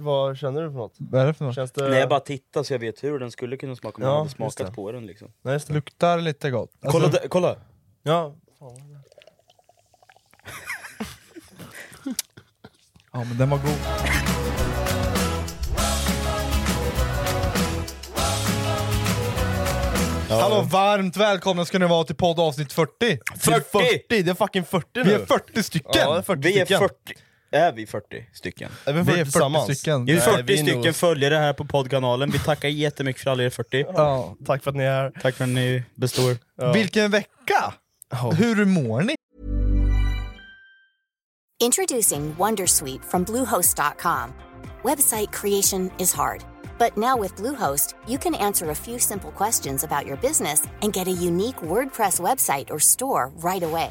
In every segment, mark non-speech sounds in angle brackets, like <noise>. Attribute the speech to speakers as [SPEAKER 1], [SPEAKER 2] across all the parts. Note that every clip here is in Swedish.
[SPEAKER 1] Vad känner du för något?
[SPEAKER 2] Vad är det för något?
[SPEAKER 1] Känns det...
[SPEAKER 3] Nej jag bara tittar så jag vet hur den skulle kunna smaka om
[SPEAKER 1] Ja,
[SPEAKER 3] jag hade
[SPEAKER 1] just det.
[SPEAKER 3] smakat på den liksom.
[SPEAKER 1] Nej, just det.
[SPEAKER 2] Luktar lite gott. Alltså,
[SPEAKER 4] Kolla, där- kolla!
[SPEAKER 1] Ja.
[SPEAKER 2] Ja men den var god. Hallå, varmt välkomna ska ni vara till podd avsnitt 40!
[SPEAKER 1] 40! 40! Det är fucking 40 nu!
[SPEAKER 2] Vi är 40 stycken!
[SPEAKER 1] Ja, det är 40
[SPEAKER 3] Vi är
[SPEAKER 1] stycken.
[SPEAKER 3] 40, är vi 40 stycken?
[SPEAKER 1] Är vi 40,
[SPEAKER 2] vi är 40
[SPEAKER 1] tillsammans?
[SPEAKER 2] stycken.
[SPEAKER 3] Vi är
[SPEAKER 2] Nej,
[SPEAKER 3] 40
[SPEAKER 1] vi är nog-
[SPEAKER 3] stycken följare här på poddkanalen, vi tackar jättemycket för alla er 40.
[SPEAKER 2] Ja.
[SPEAKER 1] Tack för att ni är här.
[SPEAKER 3] Tack för att ni består.
[SPEAKER 2] Vilken vecka! Hur mår ni?
[SPEAKER 5] Introducing Wondersuite from Bluehost.com. Website creation is hard, but now with Bluehost, you can answer a few simple questions about your business and get a unique WordPress website or store right away.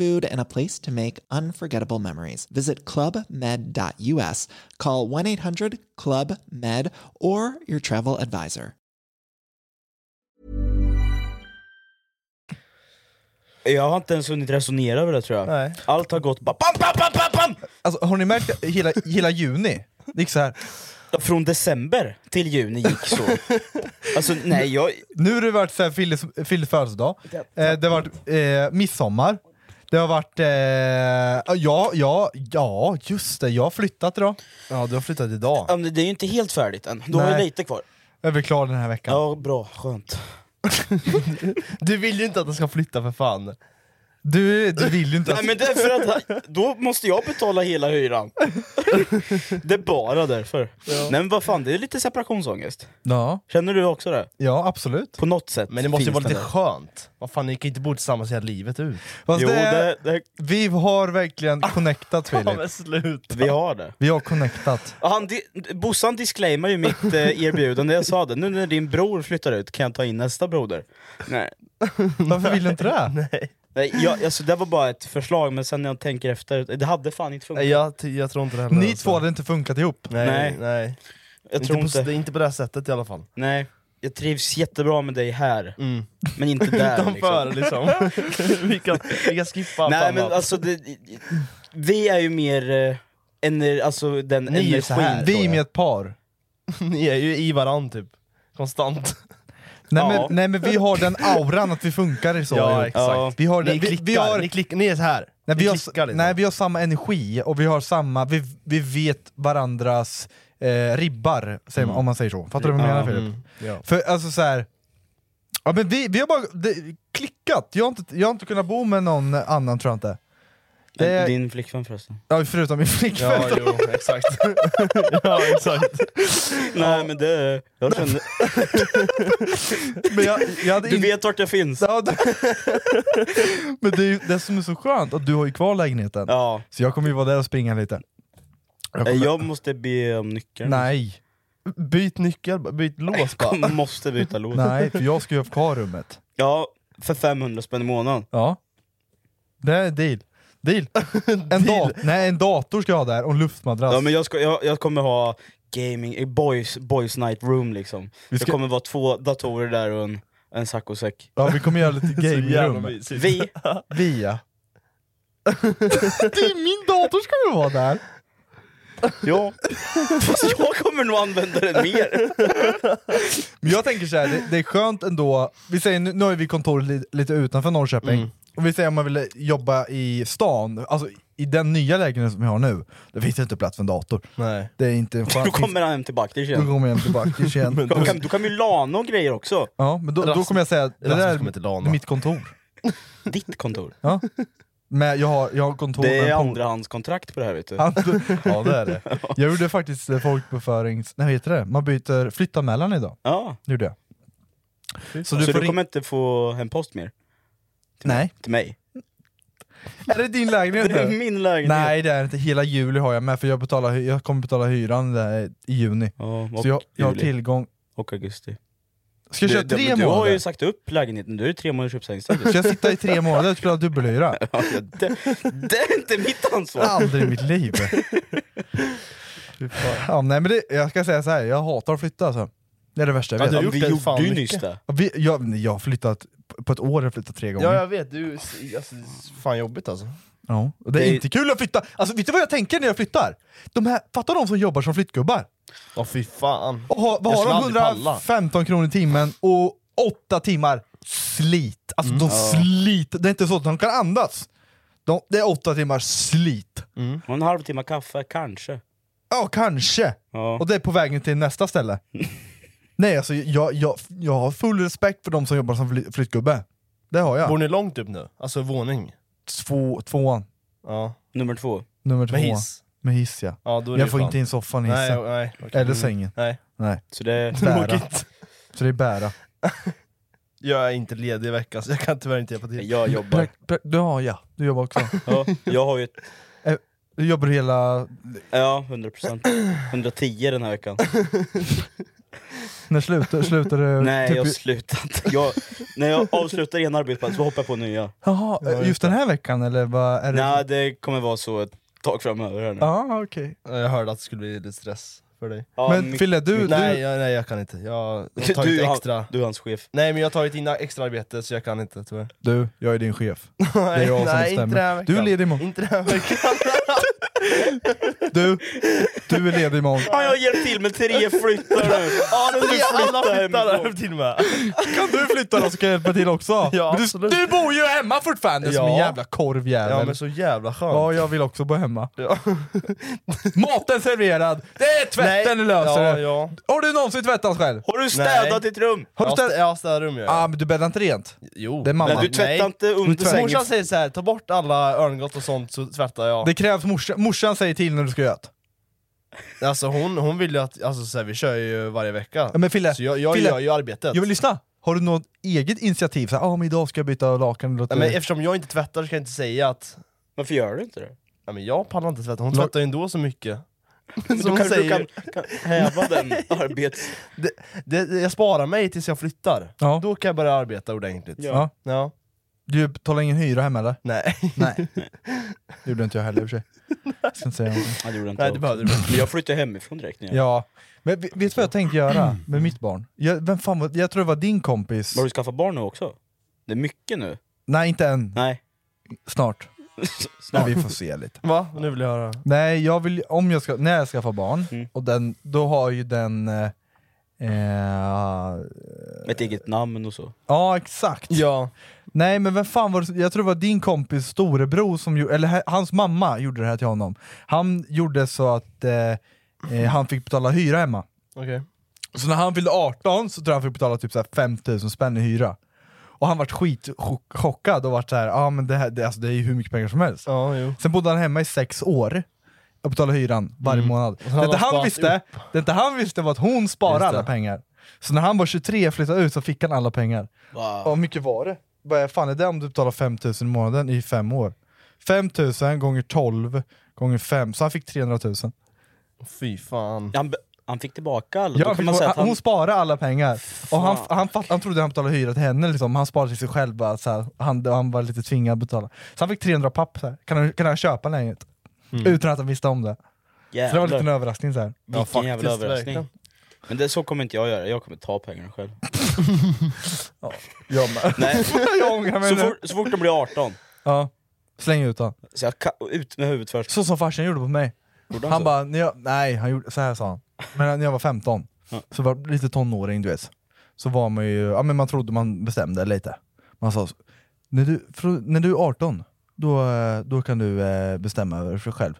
[SPEAKER 6] and a place to make unforgettable memories. Visit clubmed.us, call 1 800 Club Med, or your travel advisor.
[SPEAKER 3] Jag har inte ens hunnit resonera över det tror jag.
[SPEAKER 1] Nej.
[SPEAKER 3] Allt har gått bara bam, bam, bam, bam, bam!
[SPEAKER 2] Alltså, har ni märkt att hela, hela juni? Det gick så här.
[SPEAKER 3] Från december till juni gick så. alltså nej, jag...
[SPEAKER 2] Nu har det varit så här Filles, Filles födelsedag, eh, det har varit eh, midsommar, det har varit... Eh, ja, ja, ja, just det, jag har flyttat idag.
[SPEAKER 1] Ja, du har flyttat idag.
[SPEAKER 3] Ja, men Det är ju inte helt färdigt än, då har
[SPEAKER 2] Nej.
[SPEAKER 3] jag lite kvar.
[SPEAKER 2] Jag blir klar den här veckan.
[SPEAKER 3] Ja, bra, skönt.
[SPEAKER 1] Du vill ju inte att den ska flytta för fan.
[SPEAKER 2] Du, du vill ju inte...
[SPEAKER 3] Nej men det är för att då måste jag betala hela hyran. det är bara därför. Nej men vad fan, det är lite separationsångest.
[SPEAKER 2] Ja,
[SPEAKER 3] Känner du också det?
[SPEAKER 2] ja, absolut.
[SPEAKER 3] På något sätt.
[SPEAKER 1] Men det måste ju
[SPEAKER 3] finns
[SPEAKER 1] vara lite
[SPEAKER 3] där.
[SPEAKER 1] skönt. Vad fan, ni kan ju inte bo tillsammans hela livet ut.
[SPEAKER 2] Fast
[SPEAKER 3] Jo,
[SPEAKER 2] det,
[SPEAKER 3] det, det,
[SPEAKER 2] vi har verkligen connectat
[SPEAKER 1] Ja
[SPEAKER 2] Filip.
[SPEAKER 1] men sluta.
[SPEAKER 3] vi har det.
[SPEAKER 2] Vi har connectat.
[SPEAKER 3] Ja, Han, di- Bossan disclaimar ju mitt eh, erbjudande, jag sa det. Nu när din bror flyttar ut kan jag ta in nästa broder. Nej,
[SPEAKER 2] Varför vill du inte det?
[SPEAKER 3] Nej jag, alltså, det var bara ett förslag, men sen när jag tänker efter, det hade fan inte funkat.
[SPEAKER 1] Nej jag, ty- jag tror inte det heller.
[SPEAKER 2] Ni
[SPEAKER 1] alltså.
[SPEAKER 2] två hade inte funkat ihop.
[SPEAKER 1] Nej, nej.
[SPEAKER 3] Nej. jag
[SPEAKER 1] inte,
[SPEAKER 3] tror inte.
[SPEAKER 1] på, det är inte på det här sättet i alla fall.
[SPEAKER 3] Nej, jag trivs jättebra med dig här,
[SPEAKER 1] Mm.
[SPEAKER 3] men inte <laughs> där
[SPEAKER 1] Utanför
[SPEAKER 3] liksom.
[SPEAKER 1] liksom.
[SPEAKER 3] <laughs>
[SPEAKER 1] vi, kan, vi kan skippa allt
[SPEAKER 3] Nej
[SPEAKER 1] annat.
[SPEAKER 3] men alltså, det, vi är ju mer, eh, ener, alltså den
[SPEAKER 1] Ni är ju så här.
[SPEAKER 2] Vi är med ett par.
[SPEAKER 1] Ni är ju i varann typ. Konstant.
[SPEAKER 2] Nej
[SPEAKER 3] Ja.
[SPEAKER 2] men, nej men vi har den auran att vi funkar i så.
[SPEAKER 1] Ja,
[SPEAKER 2] ju.
[SPEAKER 1] exakt.
[SPEAKER 3] Ja.
[SPEAKER 2] Vi har,
[SPEAKER 1] Ni
[SPEAKER 2] vi,
[SPEAKER 1] klickar,
[SPEAKER 2] vi har
[SPEAKER 1] ni, klick, ni är så här.
[SPEAKER 2] Nej
[SPEAKER 1] ni
[SPEAKER 2] vi, har,
[SPEAKER 1] klickar liksom.
[SPEAKER 2] nej vi har samma energi och vi har samma, vi, vi vet varandras eh, ribbar, säger man, om man säger så. Fattar du vad jag menar Filip?
[SPEAKER 1] Mm. ja.
[SPEAKER 2] För alltså så här. Ja men vi, vi har bara det, klickat, jag har, inte, jag har inte kunnat bo med någon annan tror jag inte. Det-
[SPEAKER 3] Din flickvän förresten.
[SPEAKER 2] Ja, förutom min flickvän.
[SPEAKER 1] Ja, <laughs> jo, exakt. ja, exakt.
[SPEAKER 3] Nej men det, jag kände,
[SPEAKER 2] <laughs> Men jag, jag hade
[SPEAKER 3] du
[SPEAKER 2] in-
[SPEAKER 3] vet vart jag finns.
[SPEAKER 2] Ja, du- <laughs> men det är ju det som är så skönt, att du har ju kvar lägenheten.
[SPEAKER 3] Ja,
[SPEAKER 2] Så jag kommer ju vara där och springa lite. Jag
[SPEAKER 3] Eh,
[SPEAKER 2] kommer-
[SPEAKER 3] jag måste be om nyckeln.
[SPEAKER 2] Nej,
[SPEAKER 1] Byt nyckel, byt lås bara.
[SPEAKER 3] Man måste byta lås.
[SPEAKER 2] Nej, för jag ska ju ha kvar rummet.
[SPEAKER 3] Ja, för 500 spänn i månaden.
[SPEAKER 2] Ja. Det är deal. Deal. En, Dat- nej, en dator ska jag ha där och en luftmadrass.
[SPEAKER 3] Ja, men jag, ska, jag, jag kommer ha gaming, eh, boys, boys night room liksom.
[SPEAKER 2] Vi
[SPEAKER 3] Det
[SPEAKER 2] ska-
[SPEAKER 3] kommer vara två datorer där och en, en saccosäck.
[SPEAKER 2] Ja, vi kommer göra lite
[SPEAKER 1] <laughs> jävla
[SPEAKER 2] gamingrum.
[SPEAKER 1] mysigt.
[SPEAKER 3] Vi,
[SPEAKER 2] Via. det är min dator ska ju vara där.
[SPEAKER 3] ja. Fast jag kommer nog använda den mer.
[SPEAKER 2] Men jag tänker så här, det, det är skönt ändå, vi säger, nu, nu har ju vi kontor li, lite utanför Norrköping, och vi säger om man vill jobba i stan, alltså i den nya lägenheten som vi har nu, då finns det inte plats för en dator.
[SPEAKER 1] Nej.
[SPEAKER 2] Det är inte en chans.
[SPEAKER 3] Då kommer han hem till Baktis
[SPEAKER 2] Då
[SPEAKER 3] igen.
[SPEAKER 2] kommer jag tillbaka igen.
[SPEAKER 3] Då kan, då kan vi lana och grejer också.
[SPEAKER 2] Ja, men då, då
[SPEAKER 1] Rasmus-
[SPEAKER 2] kommer jag säga, det
[SPEAKER 1] Rasmus
[SPEAKER 2] där
[SPEAKER 1] kommer till
[SPEAKER 2] är
[SPEAKER 1] Lana.
[SPEAKER 2] mitt kontor.
[SPEAKER 3] Ditt kontor.
[SPEAKER 2] Ja. Men jag har, jag har kontor
[SPEAKER 3] Det
[SPEAKER 2] med
[SPEAKER 3] är
[SPEAKER 2] en pol-
[SPEAKER 3] andrahandskontrakt på det här vet du.
[SPEAKER 2] Andra- <laughs> Ja det är det.
[SPEAKER 3] <laughs>
[SPEAKER 2] Jag gjorde faktiskt eh, folkbokförings... Nej vad heter det? Man byter, flytta mellan idag.
[SPEAKER 3] Ja.
[SPEAKER 2] Det gjorde jag.
[SPEAKER 3] Så
[SPEAKER 2] du
[SPEAKER 3] du,
[SPEAKER 2] får ring-
[SPEAKER 3] kommer inte få hem post mer?
[SPEAKER 2] Nej.
[SPEAKER 3] Till mig?
[SPEAKER 2] Är det din lägenhet
[SPEAKER 3] Det <laughs> är
[SPEAKER 2] nu?
[SPEAKER 3] min lägenhet.
[SPEAKER 2] Nej det är det inte, hela juli har jag med för jag, betalar, hy- jag kommer betala hyran där i juni.
[SPEAKER 3] Ja, och
[SPEAKER 2] Så jag, jag har
[SPEAKER 3] juli
[SPEAKER 2] tillgång...
[SPEAKER 3] Och augusti.
[SPEAKER 2] Ska jag
[SPEAKER 3] Du-
[SPEAKER 2] köra
[SPEAKER 3] du,
[SPEAKER 2] tre
[SPEAKER 3] men du har
[SPEAKER 2] månader?
[SPEAKER 3] ju sagt upp lägenheten, du är tre månaders uppsägningstid.
[SPEAKER 2] Ska <laughs> jag sitta i tre månader och spela
[SPEAKER 3] <laughs>
[SPEAKER 2] dubbelhyra?
[SPEAKER 3] Ja, det, det är inte mitt ansvar!
[SPEAKER 2] Aldrig i mitt liv! ja, nej, men det, jag ska säga så här. jag hatar att flytta alltså. Det är det värsta jag vet.
[SPEAKER 1] du har gjort
[SPEAKER 3] vi
[SPEAKER 1] det
[SPEAKER 3] gjorde
[SPEAKER 1] fan
[SPEAKER 3] ju
[SPEAKER 1] mycket.
[SPEAKER 3] nyss det.
[SPEAKER 2] Vi, jag, jag har flyttat, på ett år har jag flyttat tre gånger.
[SPEAKER 1] Ja jag vet, du, alltså, det är fan jobbigt alltså.
[SPEAKER 2] Ja, och det är
[SPEAKER 3] Det är-
[SPEAKER 2] inte kul att flytta. Alltså vet du vad jag tänker när jag flyttar? De här, fattar de som jobbar som flyttgubbar?
[SPEAKER 1] Ja fy fan.
[SPEAKER 2] Och har, vad
[SPEAKER 1] Jag
[SPEAKER 2] har
[SPEAKER 1] skulle
[SPEAKER 2] de?
[SPEAKER 1] aldrig palla.
[SPEAKER 2] 115 kronor i timmen och 8 timmar slit. Alltså
[SPEAKER 1] Mm.
[SPEAKER 2] de sliter, det är inte så att de kan andas. De, det är 8 timmars slit.
[SPEAKER 3] Och en halvtimme kaffe, kanske.
[SPEAKER 2] Ja, kanske.
[SPEAKER 3] Ja.
[SPEAKER 2] Och det är på vägen till nästa ställe.
[SPEAKER 1] <laughs>
[SPEAKER 2] Nej alltså jag, jag, jag har full respekt för de som jobbar som fly, flyttgubbe. Det har jag.
[SPEAKER 1] Bor ni långt upp nu? Alltså våning?
[SPEAKER 2] Två, tvåan,
[SPEAKER 1] Ja.
[SPEAKER 3] Nummer två.
[SPEAKER 2] nummer två.
[SPEAKER 1] Med hiss?
[SPEAKER 2] Med hiss ja.
[SPEAKER 1] Ja, då är det
[SPEAKER 2] Jag
[SPEAKER 1] ju
[SPEAKER 2] får
[SPEAKER 1] fan.
[SPEAKER 2] inte in soffan i hissen.
[SPEAKER 1] Nej, nej. okej.
[SPEAKER 2] Eller sängen.
[SPEAKER 1] Nej.
[SPEAKER 2] Nej.
[SPEAKER 3] Så det,
[SPEAKER 2] <laughs> Bära. Så det är bära.
[SPEAKER 1] Mm. Jag är inte ledig i veckan så jag kan tyvärr inte hjälpa till.
[SPEAKER 3] jag jobbar.
[SPEAKER 2] Ja, ja. Du jobbar också.
[SPEAKER 3] Ja, jag har ju ett,
[SPEAKER 2] Du jobbar hela...
[SPEAKER 3] ja 100%. 110 den här veckan.
[SPEAKER 2] När slutar, slutar du?
[SPEAKER 3] Nej
[SPEAKER 2] typ
[SPEAKER 3] jag
[SPEAKER 2] i-
[SPEAKER 3] har slutat. <laughs> Jag, när jag avslutar en arbetsplats så hoppar jag på nya.
[SPEAKER 2] Jaha, just den här veckan eller vad är det?
[SPEAKER 3] Nej det kommer vara så ett tag framöver här nu.
[SPEAKER 2] Ja, okej.
[SPEAKER 1] Jag hörde att det skulle bli lite stress för dig.
[SPEAKER 3] Ja,
[SPEAKER 2] Men
[SPEAKER 3] mycket-
[SPEAKER 2] Fille, du...
[SPEAKER 1] nej,
[SPEAKER 2] du
[SPEAKER 1] jag, nej jag kan inte. Jag har
[SPEAKER 3] <laughs> du,
[SPEAKER 1] tagit
[SPEAKER 3] är han-
[SPEAKER 1] extra.
[SPEAKER 3] du är hans chef.
[SPEAKER 1] Nej men jag har tagit in extra arbete så jag kan inte tyvärr.
[SPEAKER 2] du, jag är din chef. är jag som bestämmer.
[SPEAKER 1] nej, inte den här veckan.
[SPEAKER 2] Du är ledig imorgon.
[SPEAKER 1] Inte den här veckan.
[SPEAKER 2] <laughs> Du, du är ledig imorgon.
[SPEAKER 3] Fan, jag har hjälpt till med tre flyttar nu! Ja, nu
[SPEAKER 1] Tre- Alla flyttar
[SPEAKER 3] hemifrån.
[SPEAKER 1] hem till mig.
[SPEAKER 2] Kan du flytta då så kan jag hjälpa till också?
[SPEAKER 1] Ja,
[SPEAKER 2] Men du,
[SPEAKER 1] absolut.
[SPEAKER 2] du bor ju hemma fortfarande som en
[SPEAKER 1] Ja.
[SPEAKER 2] jävla korvjävel.
[SPEAKER 1] Ja men så jävla skönt.
[SPEAKER 2] Ja, jag vill också bo hemma.
[SPEAKER 1] Ja.
[SPEAKER 2] Maten serverad, det är tvätten du löser
[SPEAKER 1] ja,
[SPEAKER 2] det.
[SPEAKER 1] ja.
[SPEAKER 2] Har du någonsin tvättat själv?
[SPEAKER 3] Har du städat ditt rum?
[SPEAKER 2] Har du
[SPEAKER 1] Jag städar-
[SPEAKER 2] ställt...
[SPEAKER 1] Jag städar rum gör jag.
[SPEAKER 2] Ah, men du bäddar inte rent?
[SPEAKER 1] jo.
[SPEAKER 2] det är mamma.
[SPEAKER 3] Nej, du tvättar inte under
[SPEAKER 2] tvättar.
[SPEAKER 3] sängen.
[SPEAKER 1] Morsan säger så här, ta bort alla örngott och sånt så tvättar jag.
[SPEAKER 2] Det krävs morsa, morsan säger till när du ska göra det.
[SPEAKER 1] Alltså hon, hon vill ju att, alltså så här, vi kör ju varje vecka.
[SPEAKER 2] Ja, men Fille,
[SPEAKER 1] så jag, jag
[SPEAKER 2] Fille,
[SPEAKER 1] gör ju arbetet.
[SPEAKER 2] Jag vill lyssna! Har du något eget initiativ? Så här, ah, men idag ska jag byta lakan eller
[SPEAKER 1] Ja, men eftersom jag inte tvättar så kan jag inte säga att
[SPEAKER 3] Varför gör du inte det?
[SPEAKER 1] ja, men jag pallar inte tvätta, hon
[SPEAKER 2] Lag-
[SPEAKER 1] tvättar ju ändå så mycket.
[SPEAKER 3] Då
[SPEAKER 1] Som hon
[SPEAKER 3] kanske
[SPEAKER 1] säger,
[SPEAKER 3] du kan, kan häva den arbets...
[SPEAKER 1] det, det, jag sparar mig tills jag flyttar.
[SPEAKER 2] Ja.
[SPEAKER 1] Då kan jag börja arbeta ordentligt.
[SPEAKER 2] ja.
[SPEAKER 1] Ja.
[SPEAKER 2] Du betalar ingen hyra hem eller?
[SPEAKER 1] Nej.
[SPEAKER 2] Nej. det gjorde inte jag heller i och för sig. Jag Ska inte säga någonting.
[SPEAKER 3] Ja, det gjorde
[SPEAKER 1] <laughs>
[SPEAKER 3] inte
[SPEAKER 1] Nej,
[SPEAKER 3] jag
[SPEAKER 1] det
[SPEAKER 3] också.
[SPEAKER 1] behövde du
[SPEAKER 3] Men jag flyttade hemifrån direkt. När jag...
[SPEAKER 2] Ja. Men vet du vad jag tänkte göra med mitt barn? Jag, vem fan, var- jag tror det var din kompis.
[SPEAKER 3] Har du skaffat barn nu också? Det är mycket nu.
[SPEAKER 2] Nej, inte än.
[SPEAKER 3] Nej.
[SPEAKER 1] <laughs>
[SPEAKER 2] Snart.
[SPEAKER 3] Snart.
[SPEAKER 2] Men vi får se lite.
[SPEAKER 1] Va? Nu vill jag höra.
[SPEAKER 2] Nej, jag vill, om jag ska, när jag skaffar barn,
[SPEAKER 3] Mm.
[SPEAKER 2] och den, då har ju den... eh, Eh,
[SPEAKER 3] Ett eget namn och så.
[SPEAKER 2] ja, exakt.
[SPEAKER 1] Ja.
[SPEAKER 2] Nej men vem fan var det, som- jag tror det var din kompis storebror som gjorde, eller he- hans mamma gjorde det här till honom. Han gjorde så att eh, eh, han fick betala hyra hemma.
[SPEAKER 1] Okej.
[SPEAKER 2] Så när han fyllde 18 så tror jag han fick betala typ så här 5000 spänn i hyra. Och han vart skitchockad och vart såhär, ja ah, men det, här, det, alltså, det är ju hur mycket pengar som helst.
[SPEAKER 1] Ja, jo.
[SPEAKER 2] Sen bodde han hemma i sex år och betalade hyran varje
[SPEAKER 1] Mm.
[SPEAKER 2] månad.
[SPEAKER 1] han
[SPEAKER 2] Det inte,
[SPEAKER 1] har
[SPEAKER 2] han
[SPEAKER 1] sparat
[SPEAKER 2] visste, det inte han visste var att hon sparade
[SPEAKER 1] Just det.
[SPEAKER 2] alla pengar. Så när han var 23 och flyttade ut så fick han alla pengar.
[SPEAKER 3] Va?
[SPEAKER 2] Ja, hur mycket var det? Vad fan är det om du betalar 5000 i månaden i fem år? 5000 gånger 12 gånger 5, så han fick 300 000.
[SPEAKER 1] Fy fan.
[SPEAKER 3] Han, be- Han fick tillbaka alla.
[SPEAKER 2] Ja,
[SPEAKER 3] Då
[SPEAKER 2] han
[SPEAKER 3] kan
[SPEAKER 2] fick,
[SPEAKER 3] man säga
[SPEAKER 2] han,
[SPEAKER 3] att han,
[SPEAKER 2] Hon sparade alla pengar, och han, han, fatt, han trodde han betalade hyra till henne, liksom. han sparade till sig själv, bara, så här. Han, han var lite tvingad att betala. Så han fick 300 papp, så här. Kan, han, kan han köpa lägenhet? Utan att han visste om det. Så det var
[SPEAKER 3] Mm. Jävlar.
[SPEAKER 2] lite en överraskning. Så här.
[SPEAKER 3] Vilken jävla överraskning. Men det, så kommer inte jag göra, jag kommer ta pengarna själv.
[SPEAKER 2] Jag,
[SPEAKER 3] Nej.
[SPEAKER 2] jag ångrar mig
[SPEAKER 3] så,
[SPEAKER 2] nu.
[SPEAKER 3] fort, så fort de blir 18,
[SPEAKER 2] Ja. Släng ut honom.
[SPEAKER 3] så jag ka- ut med huvudet först.
[SPEAKER 2] Så som farsan gjorde på mig.
[SPEAKER 3] Gjorde han
[SPEAKER 2] Han
[SPEAKER 3] så?
[SPEAKER 2] bara, när jag, nej han gjorde, så här sa han. Men när jag var 15, så var jag lite tonåring du vet. Så var man ju, ja men man trodde man bestämde lite. Man sa, så, när du, fr- när du är 18, då, eh, då kan du eh, bestämma över dig själv.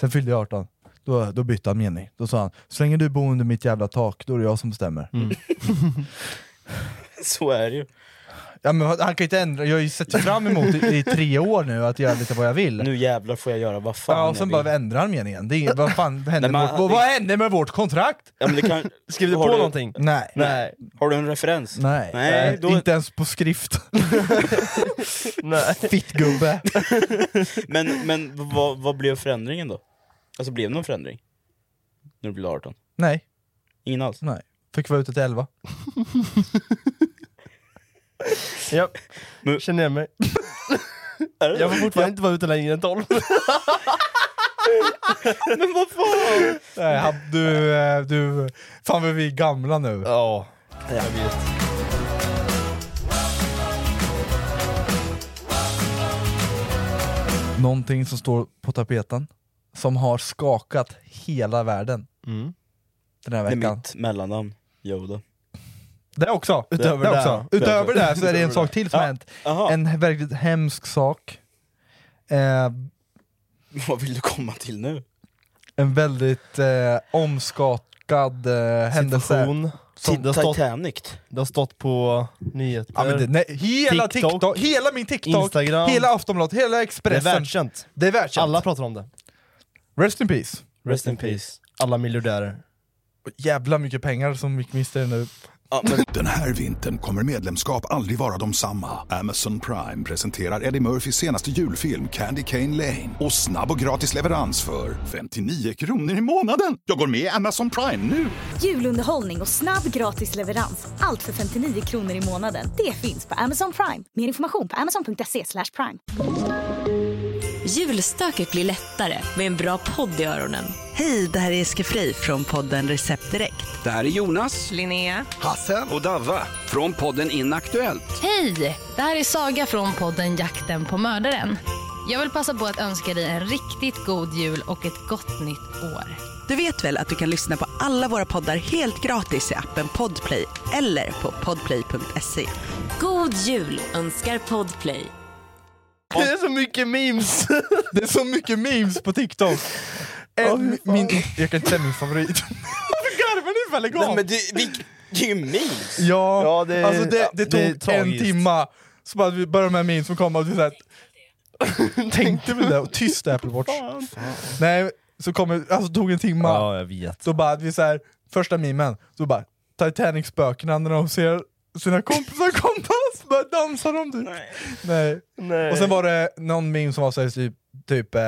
[SPEAKER 2] Sen fyllde jag 18, då, då bytte han mening. Då sa han, så länge du bor under mitt jävla tak, då är det jag som bestämmer.
[SPEAKER 3] Mm. Så är det ju.
[SPEAKER 2] Ja, men han kan ju inte ändra, jag har ju sett fram emot i, i tre år nu att göra lite vad jag vill.
[SPEAKER 3] Nu jävlar får jag göra vad fan
[SPEAKER 2] Ja,
[SPEAKER 3] jag
[SPEAKER 2] och sen
[SPEAKER 3] vill.
[SPEAKER 2] bara ändrar han meningen. Det är, vad fan hände,
[SPEAKER 3] Nej, men
[SPEAKER 2] med
[SPEAKER 3] han-
[SPEAKER 2] vårt, vad, vad hände med vårt kontrakt?
[SPEAKER 3] Ja, men det kan...
[SPEAKER 1] Skriv du
[SPEAKER 3] Har
[SPEAKER 1] på
[SPEAKER 3] du-
[SPEAKER 1] någonting?
[SPEAKER 2] Nej.
[SPEAKER 1] Nej.
[SPEAKER 3] Har du en referens?
[SPEAKER 2] Nej.
[SPEAKER 3] Nej, då...
[SPEAKER 2] Inte ens på skrift.
[SPEAKER 1] <laughs> Nej.
[SPEAKER 2] <laughs> Fittgubbe.
[SPEAKER 3] Men, men vad, vad blev förändringen då? Alltså blev det någon förändring? När du blev 18?
[SPEAKER 2] Nej.
[SPEAKER 3] Ingen alls?
[SPEAKER 2] Nej. Fick vara ute till elva.
[SPEAKER 1] Ja.
[SPEAKER 3] Men-
[SPEAKER 1] Känner igen mig.
[SPEAKER 3] Är det
[SPEAKER 1] Jag får fortfarande inte vara ute längre än 12.
[SPEAKER 3] Men vad fan!
[SPEAKER 2] Nej, han, du, eh, du... Fan vad vi är gamla nu.
[SPEAKER 1] Ja.
[SPEAKER 3] Jag vet.
[SPEAKER 2] Någonting som står på tapeten, som har skakat hela världen. Den här
[SPEAKER 3] Det är
[SPEAKER 2] veckan.
[SPEAKER 3] mitt mellannamn, Yoda.
[SPEAKER 2] Det också.
[SPEAKER 1] Utöver
[SPEAKER 2] det
[SPEAKER 1] det.
[SPEAKER 2] också. Utöver det så är det en
[SPEAKER 1] Utöver
[SPEAKER 2] sak till som har hänt.
[SPEAKER 3] Aha.
[SPEAKER 2] En verkligt hemsk sak. Eh,
[SPEAKER 3] Vad vill du komma till nu?
[SPEAKER 2] en väldigt eh, omskakad eh, händelse.
[SPEAKER 1] Situation.
[SPEAKER 3] Som
[SPEAKER 1] Det har, stått,
[SPEAKER 3] Titanic.
[SPEAKER 1] det har stått på nyheter.
[SPEAKER 2] Ja, men det, nej, hela TikTok.
[SPEAKER 1] Eh, TikTok.
[SPEAKER 2] hela min TikTok,
[SPEAKER 1] Instagram.
[SPEAKER 2] hela Aftonbladet, hela
[SPEAKER 1] det är
[SPEAKER 2] Expressen.
[SPEAKER 1] världskänt.
[SPEAKER 2] Det är världskänt.
[SPEAKER 1] Alla pratar om det.
[SPEAKER 2] Rest in peace.
[SPEAKER 3] Rest in peace.
[SPEAKER 1] Alla miljardärer.
[SPEAKER 2] Jävla mycket pengar som gick miste i nu.
[SPEAKER 3] Ja, men
[SPEAKER 7] Den här vintern kommer medlemskap aldrig vara de samma. Amazon Prime presenterar Eddie Murphys senaste julfilm Candy Cane Lane. Och snabb och gratis leverans för 59 kronor i månaden. Jag går med i Amazon Prime nu!
[SPEAKER 8] Julunderhållning och snabb gratis leverans. Allt för 59 kronor i månaden. Det finns på Amazon Prime. Mer information på amazon.se slash prime.
[SPEAKER 9] Julstöket blir lättare med en bra podd i öronen.
[SPEAKER 10] Hej, det här är Eske Fri från podden Recept Direkt.
[SPEAKER 11] Det här är Jonas,
[SPEAKER 10] Linnea.
[SPEAKER 11] Hasse och Davva från podden Inaktuellt.
[SPEAKER 12] Hej! Det här är Saga från podden Jakten på mördaren. Jag vill passa på att önska dig en riktigt god jul och ett gott nytt år.
[SPEAKER 10] Du vet väl att du kan lyssna på alla våra poddar helt gratis i appen Podplay eller på podplay.se.
[SPEAKER 9] God jul önskar Podplay.
[SPEAKER 1] <laughs> Det är så mycket memes!
[SPEAKER 2] <laughs> Det är så mycket memes på TikTok. En, min, jag kan inte säga min favorit. <laughs> Varför garvar ni? Faller igång?
[SPEAKER 3] Nej, men det, vi, det är ju memes!
[SPEAKER 2] Ja,
[SPEAKER 1] Ja, det är-
[SPEAKER 2] alltså det, det
[SPEAKER 1] ja, det är
[SPEAKER 2] tog en
[SPEAKER 1] tragiskt.
[SPEAKER 2] timma, så bara vi började med min som kom och vi så här, tänkte vi det, och tyst Apple Watch. Nej, så kom vi- alltså tog en timma,
[SPEAKER 1] Ja, jag vet.
[SPEAKER 2] då bara vi så här, första mimen, då bara Titanic-spökena när de ser sina kompisar <laughs> komma, så bara dansar de typ. Nej.
[SPEAKER 1] Nej.
[SPEAKER 2] Och sen var det någon meme som var så här, typ, typ eh,